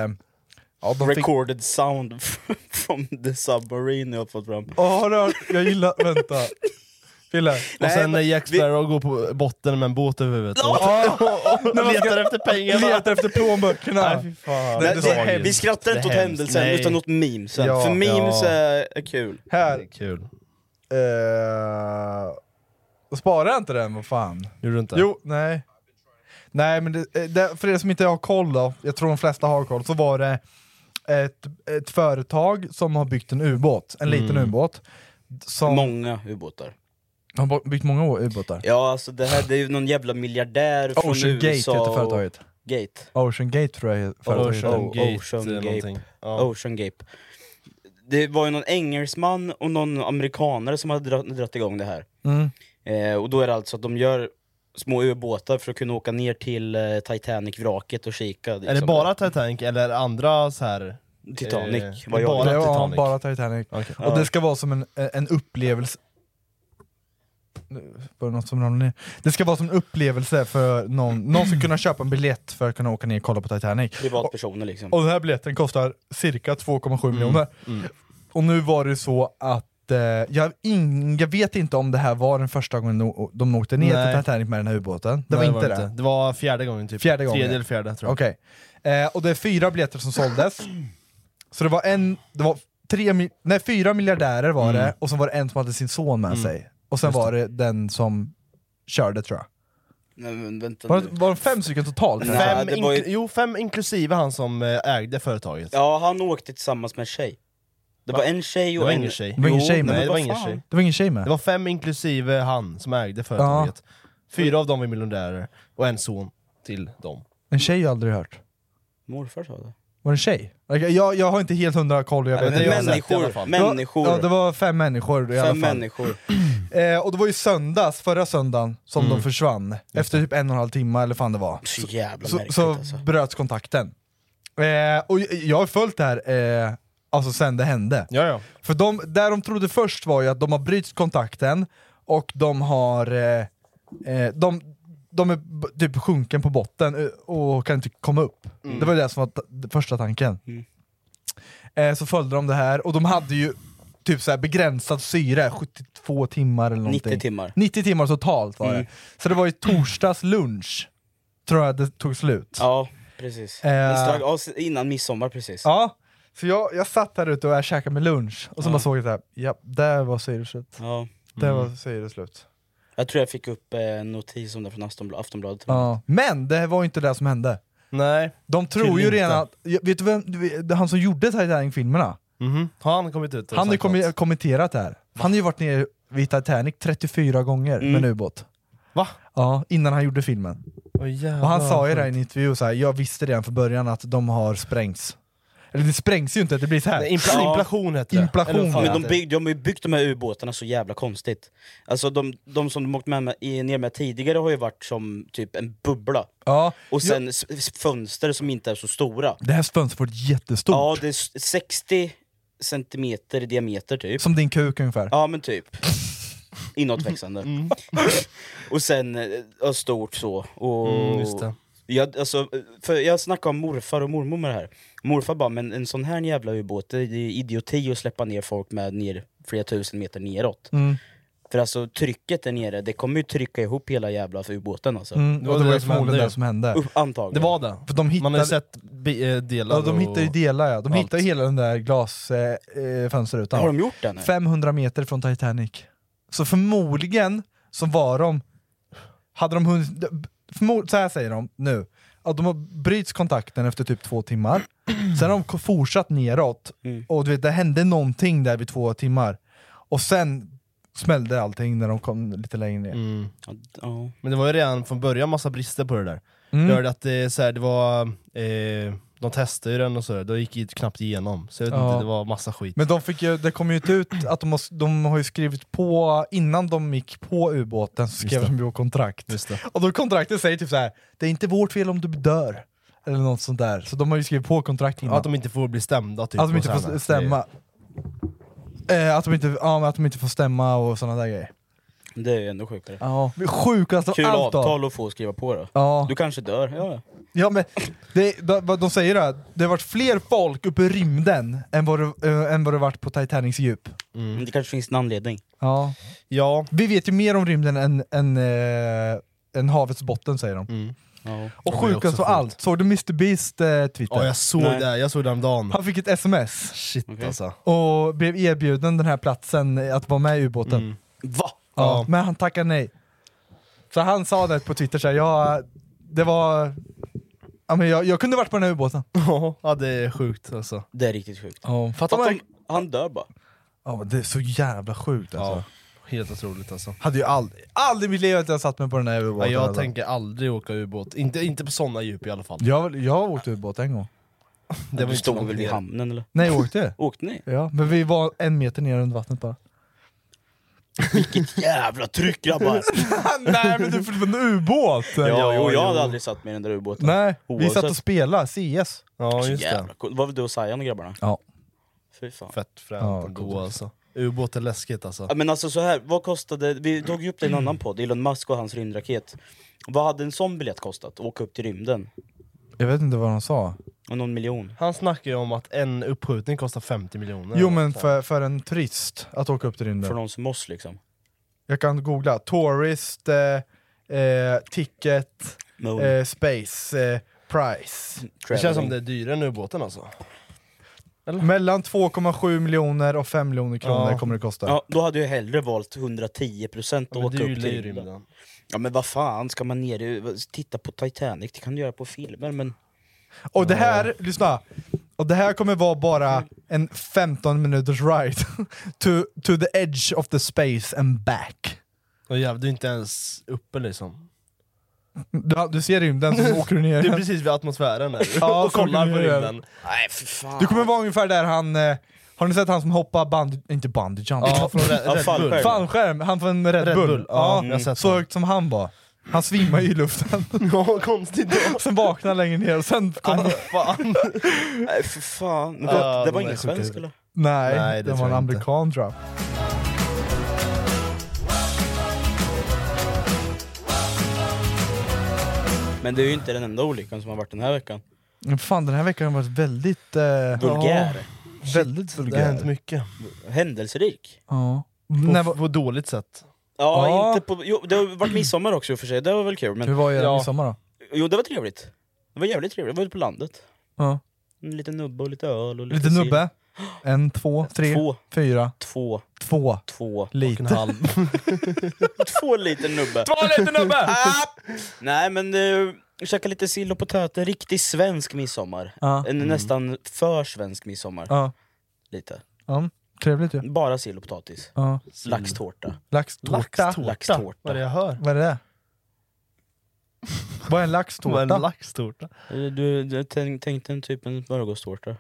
[SPEAKER 2] ja, de fick,
[SPEAKER 3] Recorded sound <laughs> from the submarine jag har fått fram.
[SPEAKER 2] Åh, har du hört? jag gillar,
[SPEAKER 1] <laughs>
[SPEAKER 2] vänta. Fille.
[SPEAKER 1] och sen när
[SPEAKER 3] men
[SPEAKER 1] Jack
[SPEAKER 3] vi-
[SPEAKER 1] Sparrow går på botten med en båt över huvudet och,
[SPEAKER 2] när man ska-
[SPEAKER 1] letar efter pengar.
[SPEAKER 2] Letar efter plånböckerna.
[SPEAKER 1] Nej, fy fan.
[SPEAKER 3] Nej,
[SPEAKER 2] det är
[SPEAKER 3] det,
[SPEAKER 2] tragiskt.
[SPEAKER 3] vi skrattar
[SPEAKER 1] Det
[SPEAKER 3] inte åt
[SPEAKER 1] är hemskt.
[SPEAKER 3] händelsen
[SPEAKER 1] Nej.
[SPEAKER 3] utan åt memesen.
[SPEAKER 2] Ja,
[SPEAKER 3] För memes
[SPEAKER 1] ja.
[SPEAKER 3] är, är kul.
[SPEAKER 2] Här.
[SPEAKER 1] Kul.
[SPEAKER 2] Eh, och sparar jag inte den, vad fan?
[SPEAKER 1] Gjorde du inte?
[SPEAKER 2] Jo, nej. Nej men det, eh, det, för er som inte har koll då, jag tror de flesta har koll, så var det ett, ett företag som har byggt en ubåt, en liten ubåt. Som,
[SPEAKER 3] Många ubåtar.
[SPEAKER 2] de har byggt många ubåtar.
[SPEAKER 3] Ja alltså det här det är ju någon jävla miljardär från
[SPEAKER 2] Ocean Gate
[SPEAKER 3] USA
[SPEAKER 2] heter
[SPEAKER 3] och-
[SPEAKER 2] företaget.
[SPEAKER 3] Gate.
[SPEAKER 2] Ocean Gate tror jag företaget Mm. heter.
[SPEAKER 1] Ocean Gate,
[SPEAKER 3] Ocean
[SPEAKER 1] eh,
[SPEAKER 3] Gate.
[SPEAKER 1] någonting. Ja.
[SPEAKER 3] Ocean Gape. Det var ju någon engelsman och någon amerikanare som hade dra- dragit igång det här.
[SPEAKER 2] Mm.
[SPEAKER 3] Eh, och då är det alltså att de gör små ubåtar för att kunna åka ner till eh, Titanic-vraket och kika.
[SPEAKER 1] Är det
[SPEAKER 3] liksom.
[SPEAKER 1] bara Titanic eller andra så här?
[SPEAKER 3] Titanic?
[SPEAKER 1] eh,
[SPEAKER 3] vad jag
[SPEAKER 1] bara
[SPEAKER 2] Det var
[SPEAKER 1] Titanic.
[SPEAKER 2] bara Titanic.
[SPEAKER 1] Okej.
[SPEAKER 2] Och det ska vara som en, eh, en upplevelse... Nu var det något som ramlade ner. Det ska vara som en upplevelse för någon, någon ska kunna köpa en biljett för att kunna åka ner och kolla på Titanic.
[SPEAKER 3] Privatpersoner liksom.
[SPEAKER 2] Mm, Och den här biljetten kostar cirka 2,7 miljoner. Och nu var det så att inte, jag, in, jag vet inte om det här var den första gången de, de åkte ner
[SPEAKER 1] Nej.
[SPEAKER 2] till Titanic med den här ubåten. Det
[SPEAKER 1] Nej,
[SPEAKER 2] var inte det?
[SPEAKER 1] Det var fjärde gången typ.
[SPEAKER 2] Fjärde gången?
[SPEAKER 1] Tredje eller fjärde tror jag.
[SPEAKER 2] Okej. Eh, och det är fyra biljetter som såldes. Så det var en, det var tre, mil- nej fyra miljardärer var det, och sen var det en som hade sin son med
[SPEAKER 3] Mm.
[SPEAKER 2] sig. Och sen
[SPEAKER 3] Just
[SPEAKER 2] var det den som körde tror jag.
[SPEAKER 3] Nej, men vänta
[SPEAKER 2] Var,
[SPEAKER 3] nu.
[SPEAKER 2] var det fem stycken totalt?
[SPEAKER 3] Nej,
[SPEAKER 2] kanske?
[SPEAKER 3] det var ju-
[SPEAKER 1] Jo, fem inklusive han som eh, ägde företaget.
[SPEAKER 3] Ja, han åkte tillsammans med en tjej. Det var en tjej
[SPEAKER 1] Det
[SPEAKER 3] och
[SPEAKER 1] var
[SPEAKER 3] en...
[SPEAKER 1] ingen tjej.
[SPEAKER 2] Det var ingen tjej med.
[SPEAKER 1] Nej, det var
[SPEAKER 2] Vad
[SPEAKER 1] ingen
[SPEAKER 2] fan.
[SPEAKER 1] tjej.
[SPEAKER 2] Det var ingen tjej med.
[SPEAKER 1] Det var fem inklusive han som ägde företaget. Fyra av dem var miljonärer, och en son till dem.
[SPEAKER 2] En tjej har jag aldrig hört.
[SPEAKER 3] Morfar sa det.
[SPEAKER 2] Var det en tjej? Okej, Jag, jag har inte helt hundra koll. Jag
[SPEAKER 3] Nej,
[SPEAKER 2] vet
[SPEAKER 3] men
[SPEAKER 2] inte.
[SPEAKER 3] det är människor,
[SPEAKER 2] Det var- det var-
[SPEAKER 3] människor.
[SPEAKER 2] Ja, det var fem människor i alla
[SPEAKER 3] Fem
[SPEAKER 2] fall.
[SPEAKER 3] människor.
[SPEAKER 2] Eh, och det var ju söndags, förra söndagen, som
[SPEAKER 3] Mm.
[SPEAKER 2] de försvann. Efter typ en och en halv timme eller fan det var.
[SPEAKER 3] Så jävla
[SPEAKER 2] så,
[SPEAKER 3] märkligt
[SPEAKER 2] så
[SPEAKER 3] alltså.
[SPEAKER 2] bröts kontakten. Eh, och jag- jag har följt det här eh, alltså sen det hände. För de, där de trodde först var ju att de har bryts kontakten och de har... Eh, eh, de, de är b- typ sjunken på botten eh, och kan inte komma upp.
[SPEAKER 3] Mm.
[SPEAKER 2] Det var ju det som var ta- den första tanken.
[SPEAKER 3] Mm.
[SPEAKER 2] Eh, så följde de det här och de hade ju typ så här begränsad syre, 72 timmar eller någonting.
[SPEAKER 3] 90 timmar.
[SPEAKER 2] 90 timmar totalt var
[SPEAKER 3] Mm.
[SPEAKER 2] det. Så det var ju torsdags lunch, tror jag det tog slut.
[SPEAKER 3] Ja, precis.
[SPEAKER 2] Eh.
[SPEAKER 3] Men strax- ja, s- innan midsommar precis.
[SPEAKER 2] Ja, så jag, jag satt här ute och jag käkade med lunch, och så
[SPEAKER 3] Ja.
[SPEAKER 2] bara såg jag såhär, ja, där var syreslut.
[SPEAKER 3] Ja.
[SPEAKER 2] Där var syreslut.
[SPEAKER 3] Jag tror jag fick upp eh, en notis om det från Aftonbladet. Aftonbladet tror jag.
[SPEAKER 2] Ja. Men det var ju inte det som hände.
[SPEAKER 1] Nej.
[SPEAKER 2] De tror ju
[SPEAKER 3] Tydligen
[SPEAKER 2] redan att,
[SPEAKER 3] inte.
[SPEAKER 2] ja, vet du vem, du vet, han som gjorde Titanic-filmerna,
[SPEAKER 1] Har han kommit ut? och
[SPEAKER 2] han har ju
[SPEAKER 1] sagt något?
[SPEAKER 2] kommi- kommenterat det här. Han har ju varit nere vid Titanic 34 gånger med en ubåt.
[SPEAKER 1] Va?
[SPEAKER 2] Ja, innan han gjorde filmen.
[SPEAKER 1] Åh, jävlar,
[SPEAKER 2] Och han sa ju
[SPEAKER 1] vad
[SPEAKER 2] det i en intervju, så här, jag visste redan från början att de har sprängts. Eller det sprängs ju inte, det blir så här.
[SPEAKER 3] Nej, impla- Ja. inflation
[SPEAKER 1] heter
[SPEAKER 3] det.
[SPEAKER 2] Inflation.
[SPEAKER 3] Ja, men de, bygg, de har ju byggt de här ubåtarna så jävla konstigt. Alltså de, de som de åkt med, med, i- ner med tidigare har ju varit som typ en bubbla.
[SPEAKER 2] Ja.
[SPEAKER 3] Och sen s- s- fönster som inte är så stora.
[SPEAKER 2] Det här fönstret var jättestort.
[SPEAKER 3] Ja, det är s- 60 centimeter i diameter typ.
[SPEAKER 2] Som din kuk ungefär.
[SPEAKER 3] Ja men typ. Inåtväxande.
[SPEAKER 1] Mm.
[SPEAKER 3] <laughs> och sen eh, ja, stort så. Och
[SPEAKER 1] Mm, just det.
[SPEAKER 3] Jag, alltså, för jag snackade om morfar och mormor med det här. Morfar bara, men en sån här jävla ubåt, det är ju idioti att släppa ner folk med ner flera tusen meter neråt.
[SPEAKER 2] Mm.
[SPEAKER 3] För alltså trycket där nere, det kommer ju trycka ihop hela jävla ubåten alltså.
[SPEAKER 2] Mm, och det var ju förmodligen det som hände.
[SPEAKER 3] Upp, antagligen.
[SPEAKER 2] Det var
[SPEAKER 1] det.
[SPEAKER 2] För de hittade,
[SPEAKER 1] Man har ju sett bi- eh, delar
[SPEAKER 2] ja, de hittade ju
[SPEAKER 1] och-
[SPEAKER 2] delar ja. De
[SPEAKER 1] allt.
[SPEAKER 2] hittade ju hela den där glasfönsterrutan. Eh, fönsterrutan.
[SPEAKER 3] Har de gjort det nu?
[SPEAKER 2] 500 meter från Titanic. Så förmodligen så var de, hade de hunnit, förmo- så här säger de nu, att de har bryts kontakten efter typ två timmar, sen har de ko- fortsatt neråt,
[SPEAKER 3] Mm.
[SPEAKER 2] och du vet det hände någonting där vid två timmar, och sen smällde allting när de kom lite längre ner.
[SPEAKER 1] Mm. Men det var ju redan från början massa brister på det där.
[SPEAKER 2] Mm.
[SPEAKER 1] Jag hörde att det, så här, det var... Eh, de testade ju den och sådär, det gick ju knappt igenom. Så jag vet
[SPEAKER 2] Ja.
[SPEAKER 1] inte, det var massa skit.
[SPEAKER 2] Men de fick ju, det kom ju inte ut att de har, de har ju skrivit på, innan de gick på ubåten så skrev
[SPEAKER 1] Just det.
[SPEAKER 2] de ju kontrakt.
[SPEAKER 1] Just det.
[SPEAKER 2] Och då kontraktet säger typ så här: det är inte vårt fel om du dör. Eller något sånt där. Så de har ju skrivit på kontrakt innan.
[SPEAKER 1] Att de inte får bli stämda typ.
[SPEAKER 2] Mm. att de
[SPEAKER 1] och
[SPEAKER 2] inte
[SPEAKER 1] så här,
[SPEAKER 2] får
[SPEAKER 1] men-
[SPEAKER 2] stämma. Eh, att, de inte, ja, men att de inte får stämma och sådana där grejer.
[SPEAKER 3] Det är ju ändå sjukare.
[SPEAKER 2] Ja. Sjukast av
[SPEAKER 3] Kul
[SPEAKER 2] allt då.
[SPEAKER 3] avtal att få skriva på då.
[SPEAKER 2] Ja.
[SPEAKER 3] Du kanske dör. Ja.
[SPEAKER 2] Ja men, det, de, vad de säger det, det har varit fler folk uppe i rymden än vad det, eh, än vad det varit på Titanics djup.
[SPEAKER 1] Mm.
[SPEAKER 3] Men Det kanske finns en anledning.
[SPEAKER 2] Ja.
[SPEAKER 1] ja.
[SPEAKER 2] Vi vet ju mer om rymden än, än, eh, än havets botten säger de. Och
[SPEAKER 1] Mm. Ja, det är också
[SPEAKER 2] sjukast av
[SPEAKER 1] sjukt.
[SPEAKER 2] allt, såg du Mr Beast eh, Twitter?
[SPEAKER 1] Ja, jag såg det, här, jag såg det häromdagen.
[SPEAKER 2] Han fick ett sms.
[SPEAKER 1] Shit alltså.
[SPEAKER 2] Och blev erbjuden den här platsen eh, att vara med i ubåten.
[SPEAKER 1] Mm.
[SPEAKER 3] Va?
[SPEAKER 2] Ja,
[SPEAKER 1] Ja.
[SPEAKER 2] Men han tackade nej. Så han sa det på Twitter, så här, ja, det var... Ja, men jag, jag kunde varit på den här ubåten.
[SPEAKER 1] <laughs> ja det är sjukt alltså.
[SPEAKER 3] Det är riktigt sjukt.
[SPEAKER 2] Ja,
[SPEAKER 3] Att
[SPEAKER 2] fattar man?
[SPEAKER 3] de, han dör bara.
[SPEAKER 2] Ja, men det är så jävla sjukt alltså.
[SPEAKER 1] Helt otroligt alltså.
[SPEAKER 2] Hade ju aldrig, aldrig i mitt liv att jag satt mig på den här
[SPEAKER 1] Ja,
[SPEAKER 2] ubåten.
[SPEAKER 1] jag
[SPEAKER 2] alltså.
[SPEAKER 1] tänker aldrig åka ubåt, inte, inte på sådana djup i alla fall.
[SPEAKER 2] jag, jag har åkt ubåt en gång.
[SPEAKER 1] Det
[SPEAKER 3] du
[SPEAKER 1] inte
[SPEAKER 3] stod
[SPEAKER 1] någon
[SPEAKER 3] väl vid
[SPEAKER 1] mer.
[SPEAKER 3] hamnen eller?
[SPEAKER 2] Nej, jag åkte.
[SPEAKER 3] Åkte ni?
[SPEAKER 2] Ja, men vi var en meter ner under vattnet bara.
[SPEAKER 3] Vilket jävla tryck grabbar!
[SPEAKER 2] <laughs> Nej men du får en ubåt!
[SPEAKER 3] ja, jo, jag hade aldrig satt mig i den där ubåten.
[SPEAKER 2] Nej, vi
[SPEAKER 3] Oavsett.
[SPEAKER 2] satt och spelade CS.
[SPEAKER 1] Ja
[SPEAKER 3] Så jävla coolt. Var väl du och Sayan och grabbarna?
[SPEAKER 2] Ja.
[SPEAKER 3] Fy fan.
[SPEAKER 1] Fett fränt
[SPEAKER 2] Ja,
[SPEAKER 1] ändå alltså. Ubåt är läskigt alltså.
[SPEAKER 3] Ja, men alltså så här, vad kostade, vi tog ju upp det i en annan podd, Elon Musk och hans rymdraket. Vad hade en sån biljett kostat? Åka upp till rymden?
[SPEAKER 2] Jag vet inte vad de sa.
[SPEAKER 3] Och någon miljon.
[SPEAKER 1] Han snackar ju om att en uppskjutning kostar 50 miljoner.
[SPEAKER 2] Jo men för, för en turist att åka upp till rymden.
[SPEAKER 3] För någon som oss liksom.
[SPEAKER 2] Jag kan googla, tourist, eh, eh, ticket,
[SPEAKER 3] Moon.
[SPEAKER 2] eh, space, eh, price.
[SPEAKER 1] Det känns som det är dyrare än ubåten alltså.
[SPEAKER 2] Mellan 2,7 miljoner och 5 miljoner kronor
[SPEAKER 3] Ja.
[SPEAKER 2] kommer det kosta.
[SPEAKER 3] Ja, då hade jag hellre valt 110% att
[SPEAKER 1] men
[SPEAKER 3] åka
[SPEAKER 1] det är ju alltså.
[SPEAKER 3] upp till
[SPEAKER 1] löjrymden.
[SPEAKER 3] rymden. Ja men vad fan, ska man ner i- Titta på Titanic, det kan du göra på filmer men...
[SPEAKER 2] Och det här, lyssna, och det här kommer vara bara en 15 minuters ride <laughs> to, to the edge of the space and back.
[SPEAKER 1] Och jävlar, du är inte ens uppe liksom.
[SPEAKER 2] Du, du ser rymden, så <laughs> åker du ner.
[SPEAKER 1] Du är precis vid atmosfären <laughs> där
[SPEAKER 2] Ja,
[SPEAKER 1] och kollar
[SPEAKER 2] så
[SPEAKER 1] på
[SPEAKER 2] åker du ner.
[SPEAKER 1] rymden.
[SPEAKER 3] Nej för fan.
[SPEAKER 2] Du kommer vara ungefär där han, eh, har ni sett han som hoppar band, inte bungee jump?
[SPEAKER 1] Ja, från Red- Ja, Red Bull.
[SPEAKER 2] fallskärm. <laughs>
[SPEAKER 1] fallskärm.
[SPEAKER 2] fallskärm, han från Red,
[SPEAKER 1] Red
[SPEAKER 2] Bull.
[SPEAKER 1] Bull, ja,
[SPEAKER 2] Ja,
[SPEAKER 1] jag har sett
[SPEAKER 2] så
[SPEAKER 1] det.
[SPEAKER 2] högt som han var. Han svimmar ju i <laughs> luften.
[SPEAKER 1] Ja, konstigt
[SPEAKER 2] Sen vaknar han längre ner och sen kom han...
[SPEAKER 1] Fan.
[SPEAKER 3] Nej för fan. Men
[SPEAKER 2] Ja,
[SPEAKER 3] det,
[SPEAKER 2] de
[SPEAKER 3] det var
[SPEAKER 2] är
[SPEAKER 3] ingen
[SPEAKER 2] sjuka
[SPEAKER 3] svensk
[SPEAKER 2] i
[SPEAKER 3] eller?
[SPEAKER 2] Nej,
[SPEAKER 1] Nej, det
[SPEAKER 2] det,
[SPEAKER 1] tror
[SPEAKER 2] var en
[SPEAKER 1] jag inte.
[SPEAKER 2] amerikan tror jag.
[SPEAKER 3] Men det är ju inte den enda olyckan som har varit den här veckan.
[SPEAKER 2] Men fan den här veckan har varit väldigt... Eh,
[SPEAKER 3] Vulgär.
[SPEAKER 2] Ja, väldigt vulgär.
[SPEAKER 1] Det har hänt mycket.
[SPEAKER 3] Händelserik.
[SPEAKER 2] Ja.
[SPEAKER 1] På,
[SPEAKER 2] När var-
[SPEAKER 1] på dåligt sätt.
[SPEAKER 3] Ja,
[SPEAKER 2] Ja.
[SPEAKER 3] Inte på, jo, det har varit midsommar också i och för sig, det var väl kul. Men,
[SPEAKER 2] Hur var er
[SPEAKER 3] ja.
[SPEAKER 2] midsommar då?
[SPEAKER 3] Jo det var trevligt. Det var jävligt trevligt, det var ute på landet.
[SPEAKER 2] Ja.
[SPEAKER 3] En liten nubbe och lite öl och lite
[SPEAKER 2] Lite
[SPEAKER 3] sill.
[SPEAKER 2] nubbe? En, två, tre,
[SPEAKER 3] Två.
[SPEAKER 2] fyra,
[SPEAKER 3] Två.
[SPEAKER 2] två,
[SPEAKER 3] två <laughs>
[SPEAKER 2] lite.
[SPEAKER 3] och en halv. Två liten nubbe.
[SPEAKER 2] Två liten
[SPEAKER 3] <laughs>
[SPEAKER 2] nubbe!
[SPEAKER 3] Ah! Nej men uh, käka lite sill och potäter, riktig svensk midsommar.
[SPEAKER 2] Ja.
[SPEAKER 3] En
[SPEAKER 2] Mm.
[SPEAKER 3] nästan för svensk midsommar.
[SPEAKER 2] Ja.
[SPEAKER 3] Lite.
[SPEAKER 2] ja, trevligt ju.
[SPEAKER 3] Bara sill och potatis.
[SPEAKER 2] Ja.
[SPEAKER 3] Laxtårta.
[SPEAKER 2] Laxtårta.
[SPEAKER 3] Laxtårta. Laxtårta.
[SPEAKER 1] Vad är det jag hör?
[SPEAKER 2] Vad är det? Vad är en laxtårta?
[SPEAKER 1] Vad är en laxtårta?
[SPEAKER 3] Du, Eh, du, du tänk, tänk dig en typ en smörgåstårta.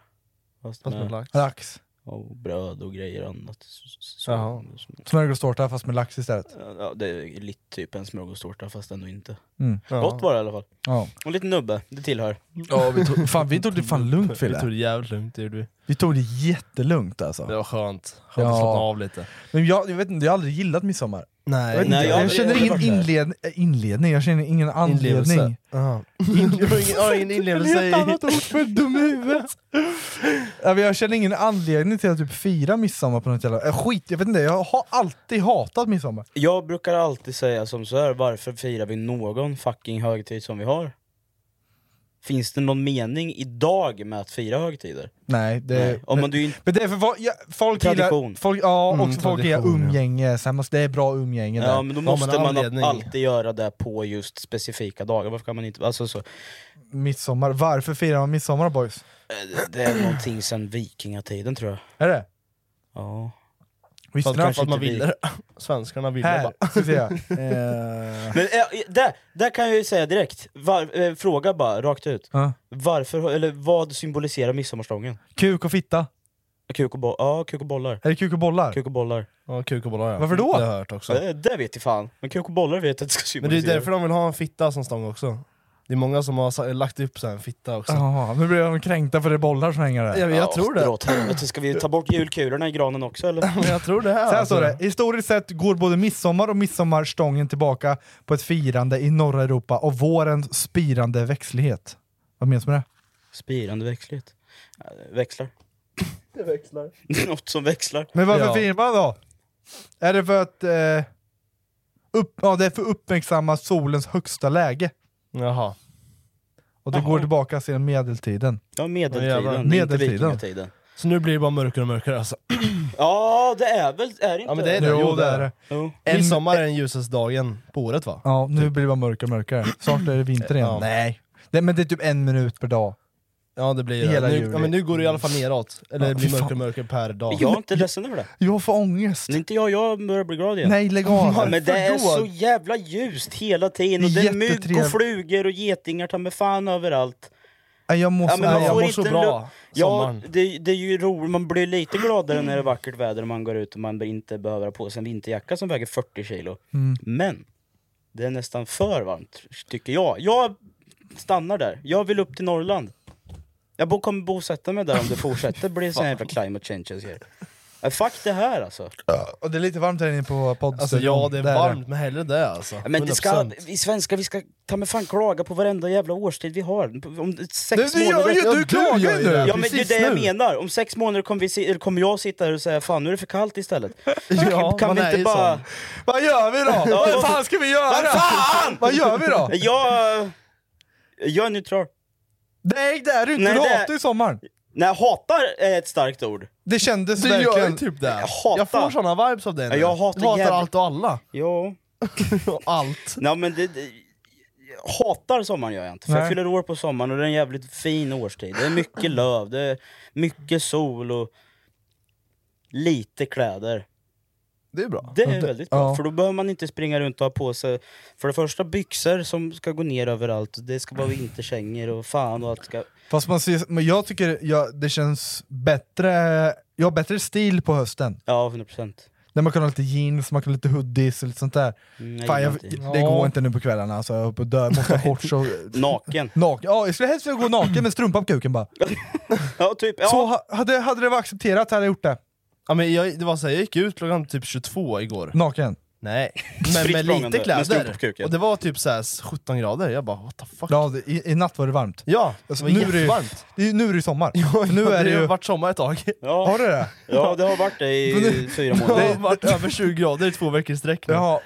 [SPEAKER 3] Fast
[SPEAKER 1] Fast med lax.
[SPEAKER 2] Lax.
[SPEAKER 3] Och bröd och grejer annat. S- s- Så,
[SPEAKER 2] Jaha. Smörgåstårta fast med lax istället.
[SPEAKER 3] Ja, det är lite typ en smörgåstårta fast ändå inte.
[SPEAKER 2] Mm. Ja.
[SPEAKER 3] Gott var det i alla fall.
[SPEAKER 2] Ja.
[SPEAKER 3] Och lite nubbe, det tillhör.
[SPEAKER 2] Ja, vi tog- fan, vi tog det fan lugnt, Fille.
[SPEAKER 1] Vi tog det jävligt lugnt, det gjorde vi.
[SPEAKER 2] Vi tog det jättelugnt alltså.
[SPEAKER 1] Det var skönt. Skönt att
[SPEAKER 2] Ja.
[SPEAKER 1] slappna av lite.
[SPEAKER 2] Men jag, jag vet inte, jag har aldrig gillat midsommar.
[SPEAKER 1] Nej.
[SPEAKER 2] jag, vet inte,
[SPEAKER 1] Nej, jag
[SPEAKER 2] jag,
[SPEAKER 1] har aldrig-
[SPEAKER 2] känner
[SPEAKER 1] jag har
[SPEAKER 2] ingen
[SPEAKER 1] aldrig varit
[SPEAKER 2] inled, äh, inledning, jag känner ingen
[SPEAKER 1] Inlevelse.
[SPEAKER 2] anledning.
[SPEAKER 1] Ja. Det var ingen- ja, ingen inlevelse
[SPEAKER 2] Det är ett
[SPEAKER 1] i-
[SPEAKER 2] annat ord för dum i huvudet. Ja, men jag känner ingen anledning till att typ fira midsommar på något jävla... Äh, skit, jag vet inte, jag har alltid hatat midsommar.
[SPEAKER 3] Jag brukar alltid säga som så här, varför firar vi någon fucking högtid som vi har? Finns det någon mening idag med att fira högtider?
[SPEAKER 2] Nej, det...
[SPEAKER 3] Nej. Om man, du är inte
[SPEAKER 2] Men det är för va- ja, folk
[SPEAKER 3] Tradition.
[SPEAKER 2] Gillar, folk, ja,
[SPEAKER 3] Mm,
[SPEAKER 2] och folk gillar
[SPEAKER 3] tradition, ja.
[SPEAKER 2] umgänge, så här måste, det är bra umgänge där.
[SPEAKER 3] Ja men då måste man alltid göra det på just specifika dagar, varför kan man inte, alltså så, eh,
[SPEAKER 2] Midsommar, varför firar man midsommar boys?
[SPEAKER 3] Eh, det- det är någonting sen vikingatiden tror jag.
[SPEAKER 2] Är det?
[SPEAKER 3] Ja.
[SPEAKER 2] Visste ni
[SPEAKER 1] Fast att man ville det. <laughs> Svenskarna ville
[SPEAKER 2] Här,
[SPEAKER 1] bara.
[SPEAKER 2] ska vi se.
[SPEAKER 3] <laughs> Men eh, där, där kan jag ju säga direkt, Var, eh, fråga bara rakt ut.
[SPEAKER 2] Ja.
[SPEAKER 3] Varför, eller vad symboliserar midsommarstången?
[SPEAKER 2] Kuk och fitta.
[SPEAKER 3] Kuk och, bo- ja, kuk och bollar.
[SPEAKER 2] Är det kuk och bollar?
[SPEAKER 3] Kuk och bollar.
[SPEAKER 1] Ja, kuk och bollar ja.
[SPEAKER 2] Varför då?
[SPEAKER 1] Det har jag hört också.
[SPEAKER 3] Eh, Det vet jag fan, men kuk och bollar vet jag att det ska
[SPEAKER 1] Men det är
[SPEAKER 3] symbolisera.
[SPEAKER 1] därför de vill ha en fitta som stång också. Det är många som har sa- lagt upp så här en fitta också.
[SPEAKER 2] Jaha, nu blir de kränkta för det är bollar som hänger där.
[SPEAKER 1] Jag, jag tror det.
[SPEAKER 3] Dra åt helvete, ska vi ta bort julkulorna i granen också eller?
[SPEAKER 1] jag tror det här.
[SPEAKER 2] Så här står
[SPEAKER 3] alltså.
[SPEAKER 2] det, historiskt sett går både midsommar och midsommarstången tillbaka på ett firande i norra Europa och vårens spirande växtlighet. Vad menas med det?
[SPEAKER 3] Spirande växlighet. Eh, Växlar.
[SPEAKER 1] Det växlar.
[SPEAKER 3] Det är <laughs> något som växlar.
[SPEAKER 2] Men varför
[SPEAKER 3] Ja.
[SPEAKER 2] firar man då? Är det för att... Eh, upp, ja, det är för att uppmärksamma solens högsta läge.
[SPEAKER 1] Jaha.
[SPEAKER 2] Och det går tillbaka sedan medeltiden.
[SPEAKER 1] Ja,
[SPEAKER 3] Ja,
[SPEAKER 1] jävlar.
[SPEAKER 3] medeltiden, inte
[SPEAKER 2] Medeltiden.
[SPEAKER 3] vikingatiden.
[SPEAKER 1] Så nu blir det bara mörkare och mörkare alltså.
[SPEAKER 3] Ja, det är väl, är det inte?
[SPEAKER 1] Ja men det är det.
[SPEAKER 2] Jo, det är det.
[SPEAKER 3] Jo.
[SPEAKER 1] En- Midsommar är den ljusaste dagen på året va?
[SPEAKER 2] Ja,
[SPEAKER 3] Typ.
[SPEAKER 2] nu blir det bara mörkare och mörkare. Snart är det vinter igen.
[SPEAKER 1] Ja.
[SPEAKER 2] Nej. Det, men det är typ en minut per dag.
[SPEAKER 1] Ja det blir
[SPEAKER 2] Hela
[SPEAKER 1] det. Nu,
[SPEAKER 2] juli. Mm.
[SPEAKER 1] ja, men nu går det i alla fall neråt. Eller
[SPEAKER 2] Ja,
[SPEAKER 1] det blir
[SPEAKER 2] fy fan.
[SPEAKER 1] mörkare och mörkare per dag.
[SPEAKER 3] Jag är inte ledsen över det.
[SPEAKER 2] Jag får ångest.
[SPEAKER 3] Nej, inte jag, jag börjar bli glad igen.
[SPEAKER 2] Nej, lägg av.
[SPEAKER 3] Ja, men det är
[SPEAKER 2] Varför då?
[SPEAKER 3] så jävla ljust hela tiden och det är mygg
[SPEAKER 2] Jättetrevligt.
[SPEAKER 3] och flugor och getingar ta mig fan överallt.
[SPEAKER 2] Nej, Jag måste...
[SPEAKER 3] men man
[SPEAKER 2] nej, Alltså, jag
[SPEAKER 3] får
[SPEAKER 2] måste-
[SPEAKER 3] inte en
[SPEAKER 1] bra
[SPEAKER 3] lu- Ja,
[SPEAKER 1] sommaren.
[SPEAKER 3] det, det är ju roligt, man blir lite gladare när det är vackert väder och man går ut och man inte behöver ha på sig en vinterjacka som väger 40 kilo.
[SPEAKER 2] Mm.
[SPEAKER 3] Men det är nästan för varmt, tycker jag. Jag stannar där. Jag vill upp till Norrland. Jag bo, kommer bosätta mig där om det fortsätter bli sån här jävla climate changes här. Ja, Fuck det här alltså.
[SPEAKER 2] Och det är lite varmt här inne på podden.
[SPEAKER 3] Alltså, ja, det är varmt,
[SPEAKER 1] men hellre det alltså.
[SPEAKER 3] Men det ska, vi svenskar vi ska ta med fan klaga på varenda jävla årstid vi har. Om sex
[SPEAKER 1] Det gör
[SPEAKER 3] månader...
[SPEAKER 1] ju- du
[SPEAKER 3] Ja,
[SPEAKER 1] klagar
[SPEAKER 3] gör
[SPEAKER 1] ju nu.
[SPEAKER 3] Ja men det är
[SPEAKER 1] Precis
[SPEAKER 3] det jag
[SPEAKER 1] nu.
[SPEAKER 3] menar. Om sex månader kommer, vi, se- eller kommer jag sitta här och säga fan nu är det för
[SPEAKER 1] <laughs>
[SPEAKER 3] kallt istället.
[SPEAKER 2] Ja,
[SPEAKER 3] kan
[SPEAKER 2] man
[SPEAKER 3] vi
[SPEAKER 2] är
[SPEAKER 3] inte
[SPEAKER 2] ju
[SPEAKER 3] bara...
[SPEAKER 2] sån. Vad gör vi då?
[SPEAKER 3] Ja,
[SPEAKER 2] Vad fan ska vi göra?
[SPEAKER 3] Vad fan!
[SPEAKER 2] Vad gör vi då?
[SPEAKER 3] Jag... Jag är neutral.
[SPEAKER 2] Nej det är du inte. Du hatar ju sommaren.
[SPEAKER 3] Nej hatar är ett starkt ord.
[SPEAKER 2] Det kändes
[SPEAKER 3] Du gör ju
[SPEAKER 2] verkligen...
[SPEAKER 3] typ det.
[SPEAKER 2] Jag
[SPEAKER 3] hatar.
[SPEAKER 1] Jag får såna vibes av det nu.
[SPEAKER 3] Jag hatar
[SPEAKER 1] Du hatar
[SPEAKER 3] jävla-
[SPEAKER 1] allt och
[SPEAKER 3] <laughs>
[SPEAKER 1] alla.
[SPEAKER 3] Ja.
[SPEAKER 1] allt.
[SPEAKER 3] Nej men det, det, jag hatar sommaren gör jag inte, för jag
[SPEAKER 1] Nej.
[SPEAKER 3] fyller år på sommaren och det är en jävligt fin årstid. Det
[SPEAKER 1] <laughs>
[SPEAKER 3] är mycket löv, det är mycket sol och lite kläder.
[SPEAKER 2] Det är bra.
[SPEAKER 3] Det är väldigt bra,
[SPEAKER 2] Ja.
[SPEAKER 3] för då behöver man inte springa runt och ha på sig för det första byxor som ska gå ner överallt, det ska vara vinterkängor och fan och allt ska...
[SPEAKER 2] Fast man ser, men jag tycker jag, det känns bättre, jag har bättre stil på hösten.
[SPEAKER 3] Ja, 100%.
[SPEAKER 2] Där man kan ha lite jeans, man kan ha lite hoodies och lite sånt där.
[SPEAKER 3] Mm, jag
[SPEAKER 2] Fan, jag,
[SPEAKER 3] gillar inte.
[SPEAKER 2] det går inte nu på kvällarna alltså, jag är uppe och dör, måste ha shorts
[SPEAKER 3] <laughs>
[SPEAKER 2] och...
[SPEAKER 3] Naken.
[SPEAKER 2] Naken. Ja, jag skulle helst vilja gå naken med strumpan på kuken bara.
[SPEAKER 3] Ja, typ. Ja.
[SPEAKER 2] Så ha- hade, hade det varit accepterat hade jag gjort det.
[SPEAKER 1] Ja, men jag, det var så här, jag gick ut klockan typ 22 igår.
[SPEAKER 2] Naken? <laughs>
[SPEAKER 1] Nej,
[SPEAKER 2] Spritt
[SPEAKER 1] men med
[SPEAKER 2] språngande,
[SPEAKER 1] lite
[SPEAKER 2] Mm. med strumpor
[SPEAKER 1] kläder.
[SPEAKER 2] på kuken.
[SPEAKER 1] och det var typ så här 17 grader, jag bara what the fuck.
[SPEAKER 2] Ja, det, i, i natt var det varmt.
[SPEAKER 1] Ja,
[SPEAKER 2] Alltså,
[SPEAKER 1] det var
[SPEAKER 2] nu, är det, ju-
[SPEAKER 1] jättevarmt.
[SPEAKER 2] det är ju- nu är det ju sommar. nu
[SPEAKER 1] Ja,
[SPEAKER 2] är det
[SPEAKER 1] har
[SPEAKER 2] ju...
[SPEAKER 1] varit sommar ett tag.
[SPEAKER 3] Ja.
[SPEAKER 2] Har det det?
[SPEAKER 3] Ja, det har varit det
[SPEAKER 2] <laughs>
[SPEAKER 3] i fyra
[SPEAKER 1] Det har
[SPEAKER 3] månader.
[SPEAKER 1] varit över 20 grader i två veckor i sträck nu.
[SPEAKER 2] Ja,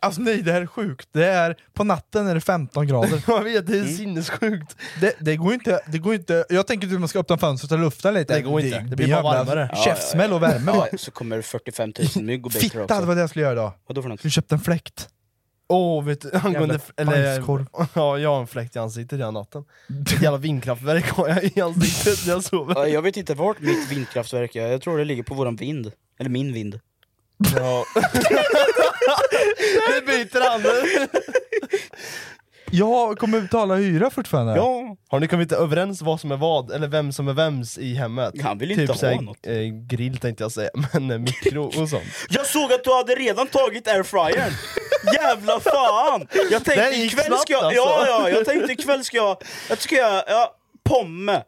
[SPEAKER 2] alltså nej det här är sjukt. Det är, på natten är det 15 grader.
[SPEAKER 1] Jag vet, det är sinnessjukt.
[SPEAKER 2] Det, det, går inte, det går inte, jag tänker typ att man ska öppna fönstret och lufta lite.
[SPEAKER 3] Det går inte.
[SPEAKER 1] Det blir bara
[SPEAKER 2] jävla
[SPEAKER 1] varmare.
[SPEAKER 2] Käftsmäll och värme bara.
[SPEAKER 3] Ja, så kommer det 45 000 mygg och bäckor
[SPEAKER 2] Fitta, det
[SPEAKER 3] också.
[SPEAKER 2] var det jag skulle göra idag.
[SPEAKER 3] Vadå för något?
[SPEAKER 2] Du köpte en fläkt.
[SPEAKER 1] Åh, vet du, angående...
[SPEAKER 2] Jävla
[SPEAKER 1] Eller,
[SPEAKER 2] bajskorv.
[SPEAKER 1] ja, jag har en fläkt i ansiktet hela natten. Ett jävla vindkraftverk har jag i ansiktet när jag sover.
[SPEAKER 3] Ja, Jag vet inte vart mitt vindkraftverk är, jag tror det ligger på våran vind. Eller min vind. Ja.
[SPEAKER 1] Det byter han
[SPEAKER 2] Jag kommer betala hyra fortfarande.
[SPEAKER 3] Ja.
[SPEAKER 1] Har ni kommit inte överens vad som är vad, eller vem som är vems i hemmet?
[SPEAKER 3] Han vill inte ha
[SPEAKER 1] såhär,
[SPEAKER 3] något.
[SPEAKER 1] Eh, grill tänkte jag säga, <laughs> men eh, mikro och sånt.
[SPEAKER 3] Jag såg att du hade redan
[SPEAKER 1] <laughs>
[SPEAKER 3] tagit airfryern! Jävla fan! Jag tänkte
[SPEAKER 1] Den gick
[SPEAKER 3] ikväll
[SPEAKER 1] snabbt
[SPEAKER 3] ska jag...
[SPEAKER 1] alltså.
[SPEAKER 3] Ja, ja, jag tänkte ikväll ska jag... Jag ska jag... Ja, pomme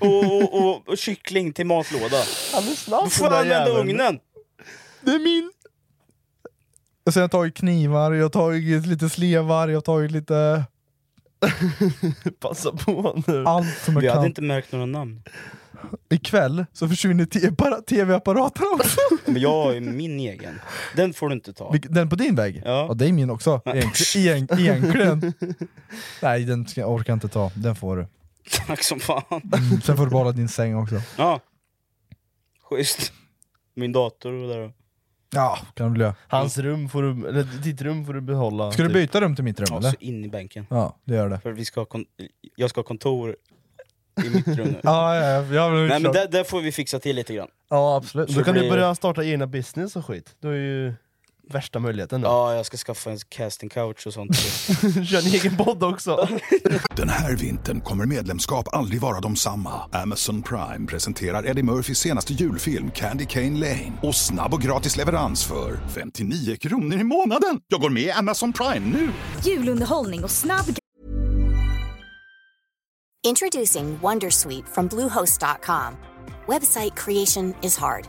[SPEAKER 3] och, och, och, och kyckling till matlåda.
[SPEAKER 1] Han är snabb
[SPEAKER 3] Då får jag använda ugnen!
[SPEAKER 2] Det är min! Och sen har Alltså, jag tagit knivar, jag har tagit lite slevar, jag har tagit lite...
[SPEAKER 1] Passa på nu.
[SPEAKER 2] Allt som jag
[SPEAKER 3] Vi hade
[SPEAKER 2] kan.
[SPEAKER 3] inte märkt några namn.
[SPEAKER 2] Ikväll så försvinner te- bara tv-apparaten
[SPEAKER 3] <laughs>
[SPEAKER 2] också.
[SPEAKER 3] Men jag har ju min egen. Den får du inte ta.
[SPEAKER 2] Vilk- Den på din vägg?
[SPEAKER 3] Ja.
[SPEAKER 2] det är min också. Egent-
[SPEAKER 3] <laughs>
[SPEAKER 2] Egent- egentligen. Nej, den ska, jag orkar inte ta. Den får du.
[SPEAKER 3] Tack som fan.
[SPEAKER 2] Mm, Sen får du behålla din säng också.
[SPEAKER 3] Ja. Schysst. Min dator och där.
[SPEAKER 2] Ja, kan du göra.
[SPEAKER 1] Hans rum får du, eller ditt rum får du behålla. typ.
[SPEAKER 2] Ska du byta rum till mitt rum
[SPEAKER 3] Typ. Ja,
[SPEAKER 2] eller?
[SPEAKER 3] så Alltså, in i bänken.
[SPEAKER 2] Ja, det gör det.
[SPEAKER 3] För vi ska ha kon- jag ska ha kontor i mitt rum nu.
[SPEAKER 2] Ja, ja, ja, jag vill
[SPEAKER 3] Nej men där, där får vi fixa till lite grann.
[SPEAKER 2] ja absolut.
[SPEAKER 1] Då kan
[SPEAKER 3] Så
[SPEAKER 1] du
[SPEAKER 3] blir-
[SPEAKER 1] börja starta egna business och skit. Du är ju värsta möjligheten då.
[SPEAKER 3] Ja, jag ska skaffa en casting couch och
[SPEAKER 1] <laughs>
[SPEAKER 3] sånt.
[SPEAKER 1] Kör en egen
[SPEAKER 2] <laughs>
[SPEAKER 1] podd också.
[SPEAKER 7] Den här vintern kommer medlemskap aldrig vara de samma. Amazon Prime presenterar Eddie Murphys senaste julfilm Candy Cane Lane. Och snabb och gratis leverans för 59 kronor i månaden. Jag går med i Amazon Prime nu!
[SPEAKER 8] Julunderhållning och snabb
[SPEAKER 5] Introducing WonderSuite from Bluehost.com. Website creation is hard,